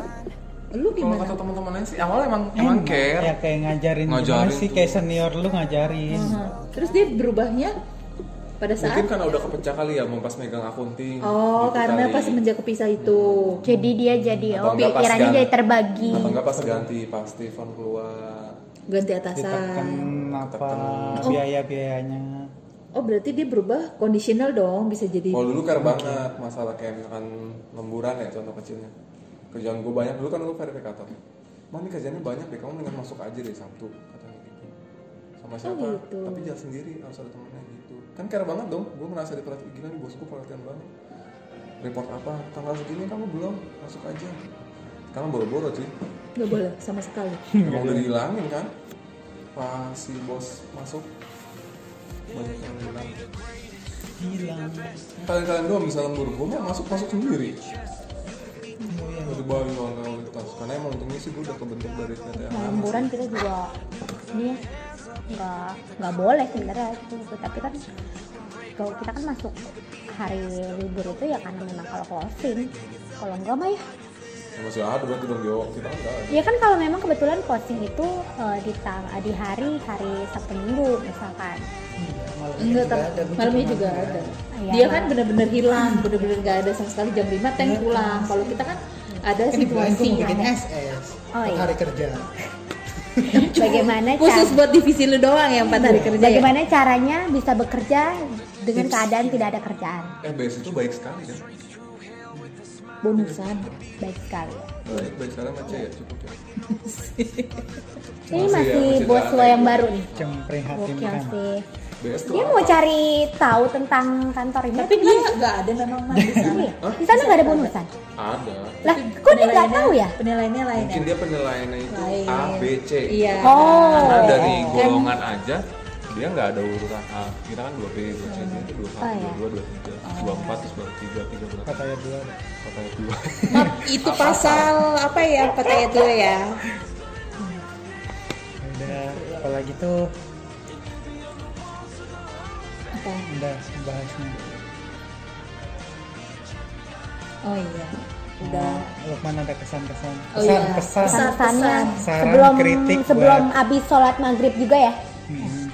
S3: Lu
S5: Kalau
S3: gimana?
S5: kata teman-teman lain sih Awalnya emang, emang care
S4: Ya kayak ngajarin,
S5: Ngajarin
S4: gimana sih
S5: tuh.
S4: kayak senior lu ngajarin.
S3: Nah, Terus dia berubahnya pada saat
S5: Mungkin karena udah kepecah kali ya Mau pas megang akunting
S3: Oh,
S5: gitu
S3: karena
S5: kali.
S3: pas semenjak kepisah itu.
S2: jadi dia jadi
S5: Atau
S2: oh
S5: enggak pas
S2: pikirannya
S5: gan-
S2: jadi terbagi
S5: Atau enggak pas ganti Pas Stefan keluar
S3: ganti atasan.
S4: Ditekan apa biaya-biayanya.
S3: Oh berarti dia berubah kondisional dong bisa jadi.
S5: Kalau dulu care banget masalah kayak misalkan lemburan ya contoh kecilnya. Kerjaan gue banyak dulu kan gue verifikator. Mami kerjanya banyak deh, kamu mendingan masuk aja deh Sabtu katanya gitu. Sama siapa?
S3: gitu.
S5: Tapi jangan sendiri, harus ada temennya gitu. Kan care banget dong, gue merasa diperhatikan gila nih bosku perhatian banget. Report apa? Tanggal segini kamu belum masuk aja. Sekarang boro-boro cuy.
S3: nggak boleh sama sekali.
S5: Emang udah dihilangin kan? Pas si bos masuk banyak yang hilang.
S4: Hilang.
S5: Kalian-kalian doang bisa lembur, gue mah masuk-masuk sendiri. Dari Bali lawan kualitas karena emang untungnya sih gue udah kebentuk dari KTA
S2: Nah, lemburan kita juga ini ya, nggak nggak boleh sebenarnya itu tapi kan kalau kita kan masuk hari libur itu ya karena memang kalau closing kalau enggak mah ya
S5: ya, masih ada berarti dong Yo kita kan nggak ada
S2: ya kan kalau memang kebetulan closing itu eh, di tang di hari hari sabtu minggu misalkan
S3: Enggak, tapi malamnya juga ada.
S2: Iya.
S3: Dia kan benar-benar hilang, benar-benar nggak ada sama sekali jam 5 tank pulang. Kalau kita kan ada
S4: Kan dibelain tuh mau
S3: situasinya.
S4: bikin SS.
S2: Oh, iya.
S4: Hari kerja.
S2: bagaimana
S3: Khusus
S2: cara
S3: buat divisi lu doang ya empat hari kerja.
S4: Iya.
S3: ya?
S2: Iya. bagaimana caranya bisa bekerja dengan keadaan tidak ada kerjaan
S5: eh BS itu baik sekali kan
S3: Bonusan.
S2: baik sekali
S5: baik baik sekarang aja ya cukup ya
S2: ini
S5: Masih ya,
S2: masih
S5: masih
S2: bos
S4: ya,
S5: ada
S2: lo yang
S5: ada.
S2: baru nih
S4: Cem prihatin
S2: Gokil
S4: kan.
S2: sih
S5: BS tuh
S2: Dia mau cari tahu tentang kantor ini.
S3: Tapi dia nggak ada memang Mas, di sana.
S2: Iya. di sana nggak ada bonusan.
S5: ada
S2: Lah,
S3: Tapi
S2: kok dia nggak
S3: penilaiannya-
S2: tahu ya?
S3: Penilaiannya lain.
S5: mungkin dia penilaiannya itu
S3: Lain.
S5: A B C
S3: Iya.
S5: karena
S2: Oh,
S5: dari golongan aja dia nggak ada urutan A kita kan dua B dua C dia itu dua
S2: Oh,
S5: satu
S2: iya.
S5: dua dua dua tiga dua empat terus baru tiga tiga berapa
S4: Kata ya dua.
S5: kata dua
S3: Maaf, itu pasal apa ya? Kata ayat dua ya.
S4: Ya
S2: Oh.
S4: Udah, apalagi tuh
S3: Apa?
S4: udah bahasnya.
S3: Oh iya. Udah.
S4: Lukman ada kesan-kesan.
S3: Oh iya.
S4: Kesan-kesan.
S2: pesannya
S4: Saran,
S2: sebelum
S4: kritik
S2: sebelum
S4: buat-
S2: abis sholat maghrib juga ya?
S4: Hmm.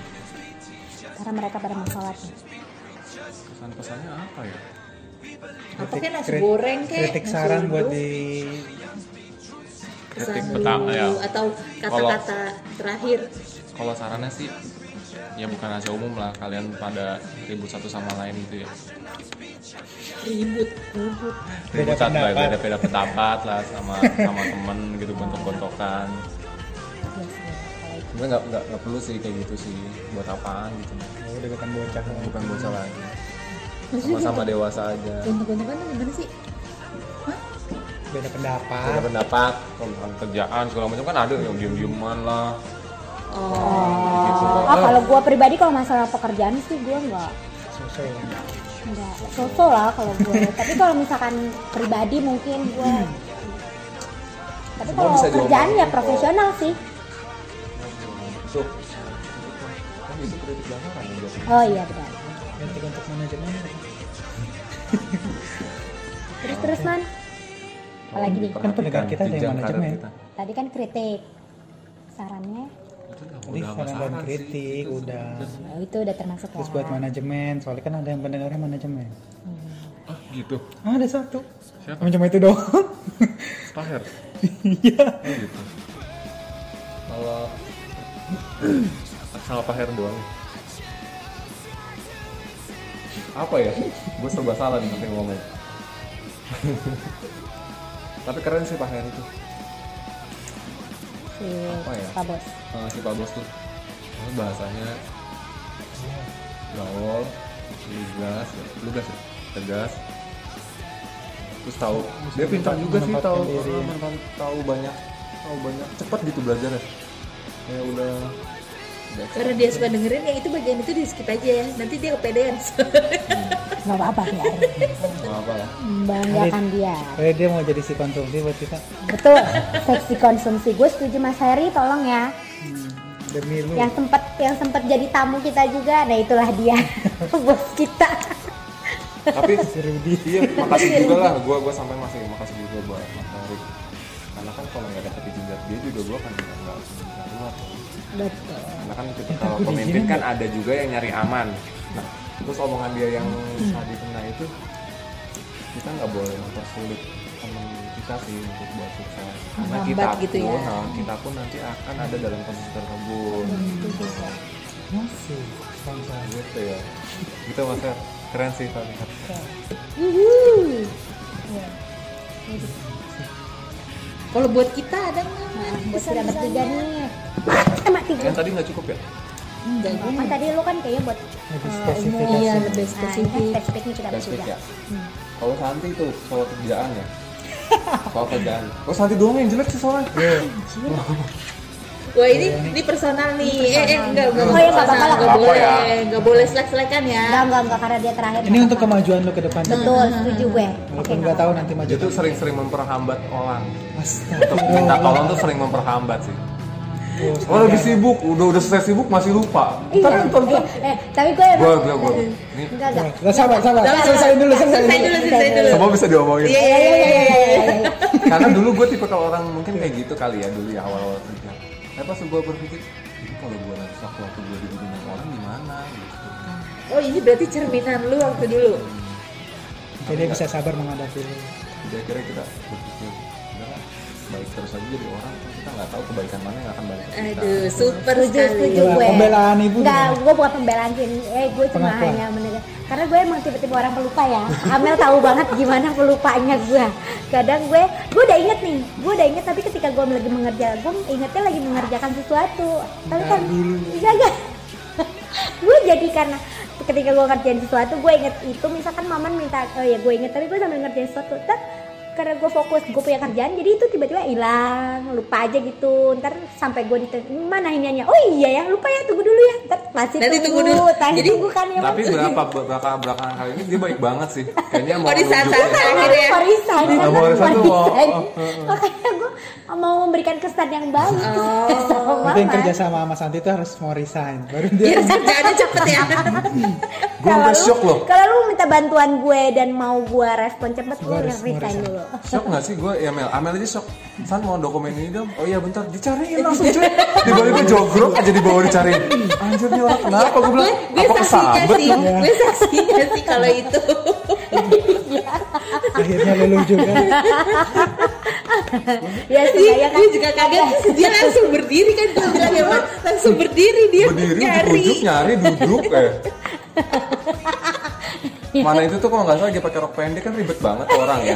S2: Karena mereka pada mau sholat. nih.
S5: pesan pesannya apa ya
S3: Apa
S4: Kritik-
S3: kayak nasi
S4: krit-
S3: goreng kek?
S4: Kritik
S3: nasi
S4: saran buat
S3: uduk,
S4: di Ya,
S5: kritik
S3: pesan
S5: pertama
S3: dulu,
S5: ya
S3: Atau kata-kata terakhir.
S5: kalau sarannya sih ya bukan rahasia umum lah kalian pada ribut satu sama lain gitu ya
S3: Ribut.
S4: Beda
S5: ribut satu
S4: pendapat.
S5: beda beda pendapat lah sama sama temen gitu bentuk bentokan
S4: Iya
S5: sebenarnya nggak nggak nggak perlu sih kayak gitu sih buat apaan gitu
S4: oh, udah bukan bocah lagi.
S5: bukan bocah lagi
S3: Maksudnya
S5: sama-sama dewasa aja
S3: Gontok-gontokan tuh gimana sih?
S4: beda
S5: ada
S4: pendapat
S5: pendapat tentang kerjaan segala macam kan ada yang diem dieman lah
S4: Oh.
S5: gitu
S2: Ah, kalau gue pribadi kalau masalah pekerjaan sih gue nggak
S4: susah ya.
S2: nggak sosok lah kalau
S5: [laughs]
S2: gue. Tapi kalau misalkan pribadi mungkin gue. Tapi
S5: Semua
S2: kalau
S5: Hmm. bisa
S2: kerjaan ya
S5: diomongin kok.
S2: profesional sih.
S5: itu kan itu kritik banget kan biasanya.
S2: Oh iya benar.
S4: Kritik untuk manajemen.
S2: Terus terus man. Apalagi nih.
S5: Perhatikan
S4: Kan pendengar kita ada yang
S5: jenjang
S4: manajemen.
S5: karir kita.
S2: Tadi kan kritik. Sarannya
S5: Itu
S4: Tadi
S5: udah- udah
S4: saran dan
S5: masalah sih.
S4: kritik udah.
S2: ya itu udah termasuk
S4: Terus
S2: ya.
S4: buat manajemen, soalnya kan ada yang pendengarnya manajemen.
S5: ah gitu
S4: Ah, ada satu.
S5: Siapa?
S4: Cuma cuma itu doang. [laughs]
S5: Tahir
S4: Iya.
S5: Oh gitu. Kalau [clears throat] sama Pak Her doang. Apa ya? Gue serba salah nih sampai ngomong. [laughs] Tapi keren sih Pak Her itu.
S2: si
S5: Apa ya?
S2: Pak Bos.
S5: Eh, si Pak Bos tuh Eh, bahasanya gaul, lugas, ya. lugas ya, tegas. Terus tahu dia pintar juga sih tahu
S4: menempatkan diri.
S5: eh, menempat- tahu banyak tahu banyak cepat gitu belajar ya. Ya udah udah
S3: Karena dia suka dengerin ya itu bagian itu di skip aja ya. Nanti dia kepedean. [laughs]
S2: Nggak apa-apa biarin.
S5: nggak apa lah.
S2: Membanggakan dia.
S4: Eh, dia mau jadi si konsumsi buat kita.
S2: kan Betul. Seksi konsumsi gue setuju Mas Heri tolong ya.
S4: Hmm, demi lu.
S2: Yang sempat yang sempat jadi tamu kita juga. Nah, itulah dia. Bos kita.
S3: [laughs]
S5: Tapi
S4: Si Rudy.
S5: iya makasih juga lah gua gua sampai masih makasih juga buat Mas Tarik. Karena kan kalau nggak dapet jejak dia juga gua kan nggak nggak bisa keluar.
S2: Betul.
S5: Karena kan kita kalau pemimpin kan ada juga yang nyari aman. Nah, terus omongan dia yang tadi kena itu kita nggak boleh mempersulit teman kita sih untuk buat sukses karena kita
S3: Menghambat gitu ya.
S5: pun nah, kita pun nanti akan ada dalam posisi tersebut
S4: Masih. Sponsor.
S5: gitu ya gitu mas Fer. keren sih Pak Fer.
S2: Wuhu.
S3: Kalau buat kita ada nggak?
S2: Nah, bos kita bertiga nih. Sama tiga.
S5: yang tadi nggak cukup ya
S3: Enggak gue
S2: Kan tadi lu kan kayaknya buat
S4: Lebih
S2: eh,
S4: spesifikasi.
S2: umum.
S3: Iya, lebih
S2: Nah, ini kan
S3: spesifik.
S2: spesifiknya kita
S5: Flashback
S2: bertiga.
S5: ya. Kalau Santi itu soal kerjaan ya. Soal kerjaan. Kalau Santi doang yang jelek sih soalnya.
S3: Wah ini ini personal nih. Eh, eh enggak enggak.
S2: Oh, iya, nggak apa-apa lah.
S3: Enggak
S5: Nggak apa-apa
S3: boleh,
S5: ya.
S3: enggak boleh selek-selekan ya.
S2: Enggak, enggak, enggak karena dia terakhir.
S4: Ini untuk kemajuan lu ke depan.
S3: Nah.
S2: Betul, setuju gue. Oke,
S4: Walaupun
S2: enggak
S4: nggak tahu nanti maju.
S5: Dia tuh sering-sering memperhambat orang. Untuk Gitu. minta
S4: Astagfirullah.
S5: tolong tuh sering memperhambat sih.
S4: Oh,
S5: Oh lebih sibuk, udah udah selesai sibuk masih lupa.
S2: Iya.
S5: Ntar kan ntar
S2: Eh, eh, tapi gue
S5: Gue gue gue. Ini
S2: enggak enggak.
S4: Nah, sabar, sabar. Selesaiin dulu, selesaiin
S3: Selesai
S4: dulu.
S3: dulu, selesai dulu.
S5: semua bisa diomongin.
S3: Iya iya iya iya.
S5: Karena dulu gue tipe kalau orang mungkin kayak gitu kali ya dulu ya awal-awal kerja. Tapi pas gue berpikir, ini kalau gue nanti waktu waktu gue digunakan orang gimana gitu.
S3: Oh ini berarti cerminan lu waktu dulu.
S4: Jadi dia bisa sabar menghadapi lu.
S5: Jadi akhirnya kita berpikir, udah lah, baik terus aja jadi orang, kita nggak tahu kebaikan mana yang akan balik
S3: Iya,
S5: ke kita.
S3: Aduh super
S2: Setuju,
S3: sekali.
S2: setuju
S4: Iya,
S2: gue.
S4: pembelaan ibu
S2: Enggak,
S4: gimana?
S2: gue bukan pembelaan sih. Eh, gue cuma
S4: Pengakuan.
S2: hanya menegas. ya. Karena gue emang tipe-tipe orang pelupa ya. Amel tahu banget gimana pelupanya gue. Kadang gue, gue udah inget nih. Gue udah inget, tapi ketika gue lagi mengerjakan, gue ingetnya lagi mengerjakan sesuatu. Tapi
S4: Ntar
S2: kan,
S4: dulu.
S2: iya [laughs] enggak? gue jadi karena ketika gue ngerjain sesuatu gue inget itu misalkan maman minta oh ya gue inget tapi gue sambil ngerjain sesuatu ntar karena gue fokus gue punya kerjaan jadi itu tiba-tiba hilang lupa aja gitu ntar sampai gue ditanya mana iniannya oh iya ya lupa ya tunggu dulu ya ntar masih
S3: Nanti
S2: tunggu,
S3: tunggu dulu.
S2: Tanya
S3: Jadi-
S2: tunggu kan ya
S5: Tapi
S2: Mas? [laughs]
S5: berapa belakangan belakangan kali ini dia baik banget sih. Kayaknya mau
S3: Oh, di saat
S5: nunjukin.
S3: saat terakhir ya.
S2: Mau resign,
S5: Nggak
S2: kan?
S5: mau resign tuh,
S2: Mau resign.
S5: oh,
S2: [laughs] makanya gue mau memberikan kesan yang baik
S3: Oh.
S2: sama
S4: Itu yang
S2: Maman.
S4: kerja sama sama Santi itu harus mau resign. Baru dia
S3: [laughs] Biar kerjaannya Iya, cepet ya.
S5: Gua
S2: Kalau
S5: sampai
S2: lu-
S5: shock loh.
S2: Kalau lu minta bantuan gue dan mau gue respon cepet,
S4: Gua
S2: gue
S4: harus- gua
S2: resign
S4: resign.
S2: dulu. [laughs]
S5: Shock gak sih gue ya Mel? Amel aja shock San mau dokumen ini dong Oh iya bentar dicariin
S3: Eh,
S5: langsung cuy Tiba-tiba jogrok aja di bawah dicariin Anjir nih orang kenapa gue bilang
S3: Gue
S5: Apa
S3: saksinya
S5: kesambet
S3: sih, gue saksinya sih kalau itu.
S4: akhirnya lulu
S3: [laughs]
S4: juga.
S2: Ya sih, ya kan.
S3: Dia juga kaget, dia langsung berdiri kan Gua bilang ya, Mak, langsung berdiri dia
S5: Berdiri
S3: nyari.
S5: dirujuk nyari duduk
S3: [laughs]
S5: eh Mana itu tuh kalau gak salah dia pakai rok pendek kan ribet banget tuh orang ya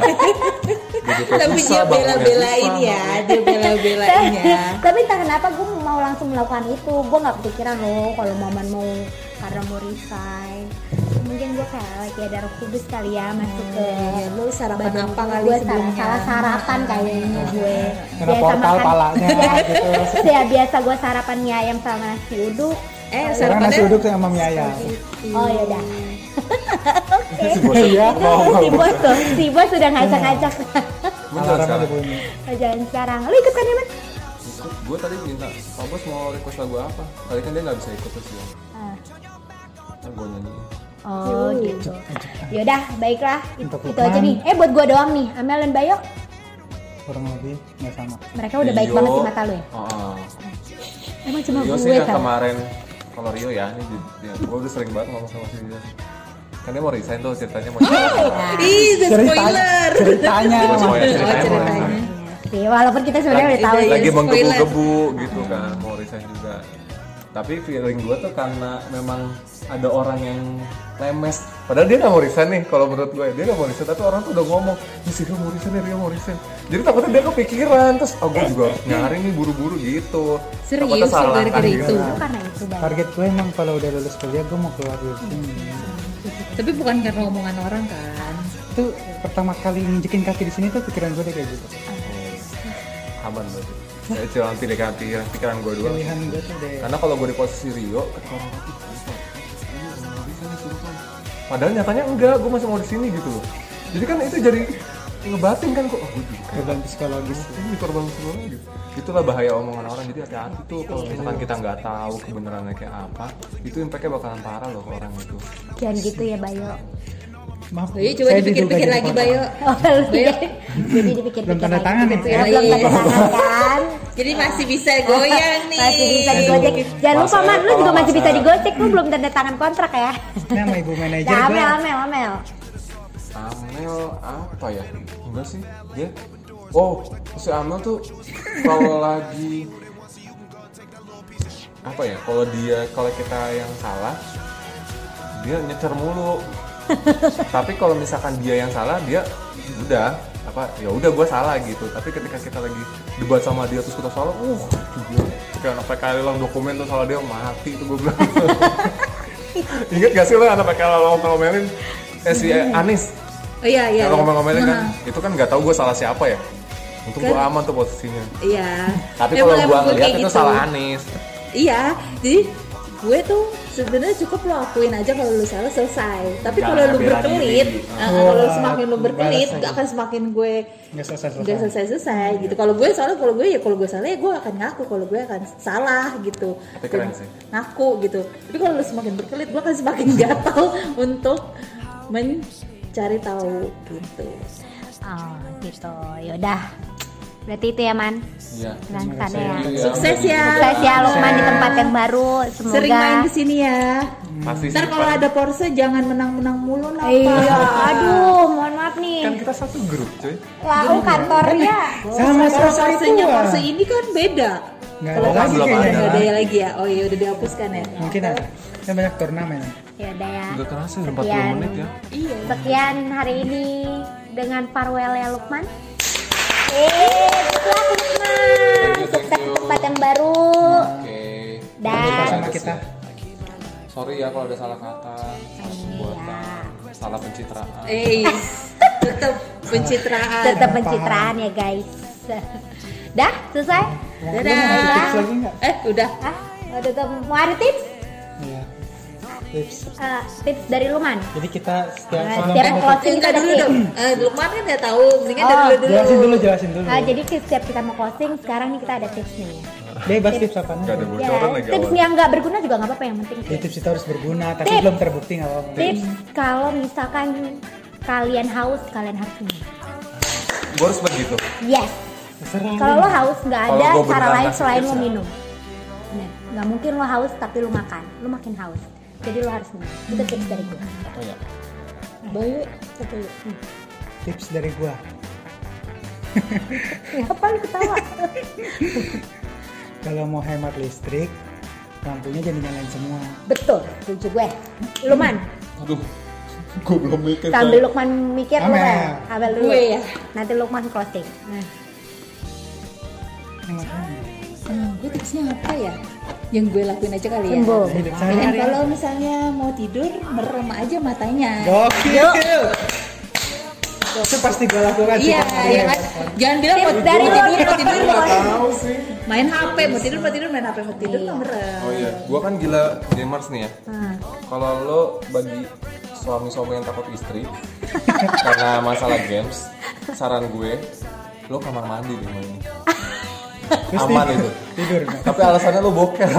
S5: Duduknya
S3: Tapi
S5: susah,
S3: dia
S5: bangunnya
S3: bela-belain
S5: susah.
S3: ya, dia bela-belain
S2: [laughs]
S3: ya.
S2: Tapi entah kenapa gue mau langsung melakukan itu. Gue nggak kepikiran loh kalau momen mau karena mau resign. Mungkin gue kayak lagi ada roh kudus kali ya masuk ke
S3: iya, lu sarapan
S2: badan
S3: apa
S2: gue.
S3: kali
S2: gue salah,
S3: sebelumnya?
S2: salah sarapan kayaknya gue
S4: Kena portal palanya
S3: [laughs]
S4: gitu.
S2: ya biasa gue sarapan mie ayam sama nasi uduk
S3: Eh,
S4: Sekarang nasi
S3: sarapannya
S4: uduk sama mie ayam.
S2: oh ya [laughs] udah
S5: Si bos
S4: Iya.
S5: Mau
S2: si bos tuh si bos sudah [laughs] ngacak-ngacak
S5: Bentar
S4: Alarm ada
S5: sekarang
S4: bunyi.
S2: jangan sekarang lu ikut kan ya Mat?
S5: Gue tadi minta Pak bos mau request lagu apa Tadi kan dia gak bisa ikut terus ya
S2: Ah.
S5: Ntar gue nyanyiin
S2: Oh gitu. Yaudah, baiklah. Itu,
S4: Untuk
S2: itu aja nih.
S4: Lukman.
S2: Eh buat gua doang nih, Amel dan Bayo. Kurang
S4: lebih, nggak sama.
S2: Mereka udah baik
S5: Rio.
S2: banget di mata lu ya.
S5: Oh,
S2: Emang cuma
S5: Rio sih
S2: Nah, gue
S5: yang
S2: tau.
S5: kemarin kalau Rio ya, ini dia, gue udah sering banget ngomong sama si Rio. Kan dia mau resign tuh ceritanya mau
S3: Ih, the
S4: ceritanya
S3: spoiler. oh,
S5: Gua
S4: Mas.
S5: spoiler, ceritanya mau
S3: ceritanya.
S5: resign.
S2: Iya Sih, walaupun kita sebenarnya udah tahu ya.
S3: Iya,
S5: Lagi
S3: spoiler.
S5: menggebu-gebu gitu kan, mau resign juga. Tapi feeling gue tuh karena memang ada orang yang lemes. Padahal dia gak mau resign nih kalau menurut gue. Dia gak mau resign, tapi orang tuh udah ngomong, ya si Rio mau resign, ya Rio mau resign. Jadi takutnya dia kepikiran, terus oh gue juga harus nyari nih buru-buru gitu.
S3: Serius, lu
S5: Takutnya salah
S3: gara-gara
S5: kan
S3: itu?
S5: gitu.
S2: itu karena itu Bayo.
S4: Target gue emang kalau udah lulus kuliah gue mau keluar dari sini.
S3: Hmm. Tapi bukan karena omongan orang kan.
S4: Itu pertama kali nginjekin kaki di sini tuh pikiran gue udah kayak gitu.
S5: aman berarti saya cuma pilihan pilihan pikiran gue doang
S4: Pilihan gue tuh deh.
S5: karena kalau gue di posisi Rio ketika orang "Ih, bisa, ini nggak bisa nih, suruh." padahal nyatanya enggak gue masih mau di sini gitu loh jadi kan itu jadi ngebatin kan kok oh, gue juga kayak
S4: Beban psikologis.
S5: ini korban semua gitu itulah bahaya omongan orang jadi hati-hati tuh kalau misalkan kita nggak tahu kebenarannya kayak apa itu impactnya bakalan parah loh ke orang itu
S2: Jangan gitu ya Bayo.
S4: Maaf,
S3: Bayu Oh, iya, coba
S4: saya
S3: dipikir-pikir
S4: diduga jadi
S3: lagi
S4: korban.
S3: Bayu.
S2: Oh, lu [laughs]
S3: Bayo.
S2: jadi- jadi dipikir-pikir
S4: Belum tanda
S2: lagi.
S4: tangan ya?
S2: Ya, belum tanda tangan kan.
S3: Jadi masih bisa goyang
S2: [laughs]
S3: nih. Iya,
S2: Masih bisa digojek. Jangan lupa
S5: Masa-
S2: man, lu juga
S5: oh,
S2: masih bisa
S5: masa-
S2: digojek. Lu belum tanda tangan kontrak ya.
S4: Ini sama ibu manajer
S2: Ya,
S4: gue.
S2: Amel, Amel, Amel.
S5: Amel apa ya? Enggak sih, dia. Oh, si Amel tuh kalau lagi apa ya? Kalau dia kalau kita yang salah, dia nyecer mulu. Tapi kalau misalkan dia yang salah, dia udah apa ya udah gue salah gitu tapi ketika kita lagi debat sama dia terus kita salah uh gila. kayak anak PKL hilang dokumen tuh salah dia oh, mati itu gue bilang Ingat gak sih lo anak PKL lo ngomelin eh si Anis
S3: Oh iya iya.
S5: kalau
S3: iya.
S5: ngomel-ngomelin kan
S3: Nah,
S5: itu kan nggak tahu gue salah siapa ya untung gue
S3: Kan-
S5: aman tuh posisinya
S3: Iya.
S5: tapi
S3: Emang-
S5: kalau gue
S3: emang
S5: ngeliat
S3: kayak
S5: itu
S3: gitu.
S5: salah Anis
S3: Iya. Jadi gue tuh sebenarnya cukup lo akuin aja kalau lu salah selesai. Tapi
S5: Jangan
S3: kalau lu
S5: bela
S3: berkelit,
S5: diri.
S3: eh, kalau
S2: Oh,
S3: lu
S4: Wah,
S3: semakin lu berkelit,
S4: balas lagi.
S3: akan semakin gue
S4: Nggak selesai
S3: nggak
S4: selesai.
S3: selesai selesai
S4: Hmm,
S3: gitu.
S4: iya.
S3: Kalau gue soalnya kalau gue ya kalau gue salah ya gue akan ngaku kalau gue akan salah gitu.
S5: Tapi keren sih.
S3: Ngaku gitu. Tapi kalau lu semakin berkelit, lu akan semakin [laughs] gatal untuk mencari tahu gitu.
S4: Ya,
S2: Oh, gitu. Yaudah. Berarti itu ya, Man.
S5: iya
S2: Langsan ya.
S3: Sukses ya.
S2: Sukses ya Lukman di tempat yang baru. Semoga
S3: Sering main di sini ya.
S5: pasti sih
S3: Ntar kalau
S5: Pak.
S3: ada Porsche jangan menang-menang mulu napa. [laughs]
S2: Iya, aduh, mohon maaf nih.
S5: kan kita satu grup cuy
S2: Wah, oh, kantornya.
S4: Sama
S3: Kalau
S4: selesai itu
S3: Porsche-nya
S4: lah.
S3: Porsche ini kan beda.
S4: Nggak
S3: Kalau
S4: ada lagi
S5: belum
S4: kayaknya.
S3: Nggak
S5: ada.
S3: ada ya lagi ya. Oh iya udah dihapuskan ya.
S4: Mungkin ada. Kan banyak turnamen.
S2: Ya udah ya.
S5: nggak kerasa udah 40
S2: Sekian.
S5: menit ya
S3: Iya.
S2: Sekian hari ini dengan farewell ya Lukman. Eh, selamat Lukman.
S5: you, thank
S2: Sukses di
S5: you.
S2: tempat yang baru.
S5: oke
S2: Dan
S4: Sama kita.
S5: sorry ya kalau ada salah kata salah
S2: Iya.
S5: perbuatan salah pencitraan
S3: Eh,
S2: [laughs]
S3: tetap pencitraan.
S2: Tetap pencitraan ya guys. [laughs] Dah selesai.
S5: Ya.
S4: Lu mau ngasih tips lagi nggak?
S3: Eh, udah.
S2: Ah, udah tuh mau ada tips?
S4: Iya. Tips.
S2: Eh, tips dari Luman.
S5: Iya.
S4: Jadi kita setiap
S2: Eh,
S4: sebelum
S2: setiap
S4: kita-
S2: closing
S3: Eh, Enggak
S2: kita
S3: dulu
S2: tips.
S3: dong. Eh, Lukman kan udah tahu, mendingan dari
S2: Oh.
S3: dulu dulu.
S4: jelasin dulu, jelasin dulu.
S2: Ah, jadi setiap kita mau closing sekarang nih kita ada tips nih.
S4: Bebas tips apa
S5: gak
S3: Iya,
S5: ada
S2: Ya,
S5: bocoran lagi
S2: tips
S5: awal
S2: yang nggak berguna juga nggak apa-apa yang penting.
S4: Ya, tips itu harus berguna, tapi
S2: Tips.
S4: belum terbukti nggak apa-apa.
S2: Tips kalau misalkan kalian haus kalian harus minum.
S5: gue harus begitu
S2: Yes.
S4: Terserah.
S2: Kalau lo haus nggak
S5: Kalau
S2: ada
S5: gua
S2: cara
S5: beneran
S2: lain
S5: ngasih
S2: selain
S5: tips
S2: lo
S5: ya.
S2: minum. Bener. Nggak mungkin lo haus tapi lo makan. Lo makin haus. Jadi lo harus minum. Itu tips dari gue.
S5: oh ya
S3: Bayu, satu.
S4: Tips dari gua.
S2: Apa lo ketawa?
S4: Kalau mau hemat listrik, lampunya jangan nyalain semua.
S2: Betul. Setuju gue. Luman.
S5: aduh gue belum mikir
S2: Sambil Lukman mikir lo
S4: Amel.
S2: kan. Amel dulu.
S3: Gue ya.
S2: Nanti Lukman closing. Nah.
S4: Hemat lama.
S3: Hmm, gue tipsnya apa ya? Yang gue lakuin aja kali ya.
S2: Sembuh.
S4: Hidup
S3: Dan
S4: sehari-hari.
S3: kalau misalnya mau tidur, merem aja matanya.
S4: Oh, Gokil. Itu pasti gua lakukan sih.
S3: Iya,
S4: Kak.
S3: ya kan? Jangan bilang mau
S2: Tips
S3: tidur,
S2: dari
S3: mau
S2: lo.
S3: tidur, mau tidur, mau tidur.
S5: tahu sih
S3: Main HP, mau tidur, mau tidur, main HP, mau tidur,
S2: Iya.
S3: mau merem.
S5: oh iya gue kan gila gamers nih ya
S2: Hmm.
S5: kalau lo bagi suami-suami yang takut
S3: [laughs]
S5: istri karena masalah games saran gue lo kamar mandi di
S3: [laughs]
S5: rumah ini
S4: Terus
S5: aman
S4: tidur.
S5: itu
S4: Tidur. Kak.
S5: tapi alasannya lo boker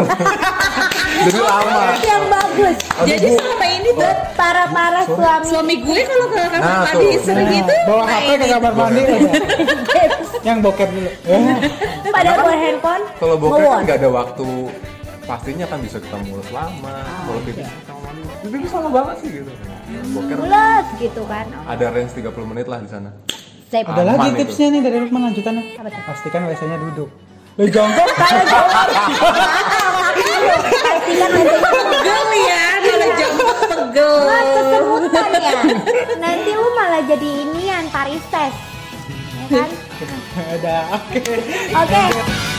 S5: jadi lo aman
S2: Yang bagus.
S5: Aduh,
S3: Jadi
S5: Bu.
S3: selama ini tuh
S2: Para-para suami
S3: suami gue kalau ke kamar
S5: Nah,
S3: mandi
S5: tuh.
S3: istri
S4: Nah,
S3: gitu,
S4: bawa
S3: nah
S4: HP
S3: ini.
S4: ke kamar mandi udah. Yang bokep dulu. Eh,
S2: pada bawa handphone
S5: kalau boker
S2: nge-watch.
S5: kan nggak ada waktu pastinya kan bisa kita mulus lama kalau tidur kamar mandi itu tuh sama banget sih gitu boker
S2: Mules gitu kan
S5: ada range 30 menit lah di sana
S2: Sip.
S5: Ah.
S4: Ada lagi
S5: itu.
S4: tipsnya nih dari Lukman lanjutannya.
S2: Apa tuh?
S4: Pastikan WC-nya duduk. Lu jongkok
S2: Kalau jawab Pastikan nanti
S3: pegel ya, kalau jongkok pegel.
S2: Mas, kesemutan ya Nanti lu malah jadi inian Parises Ya kan?
S4: ada. Oke.
S2: Oke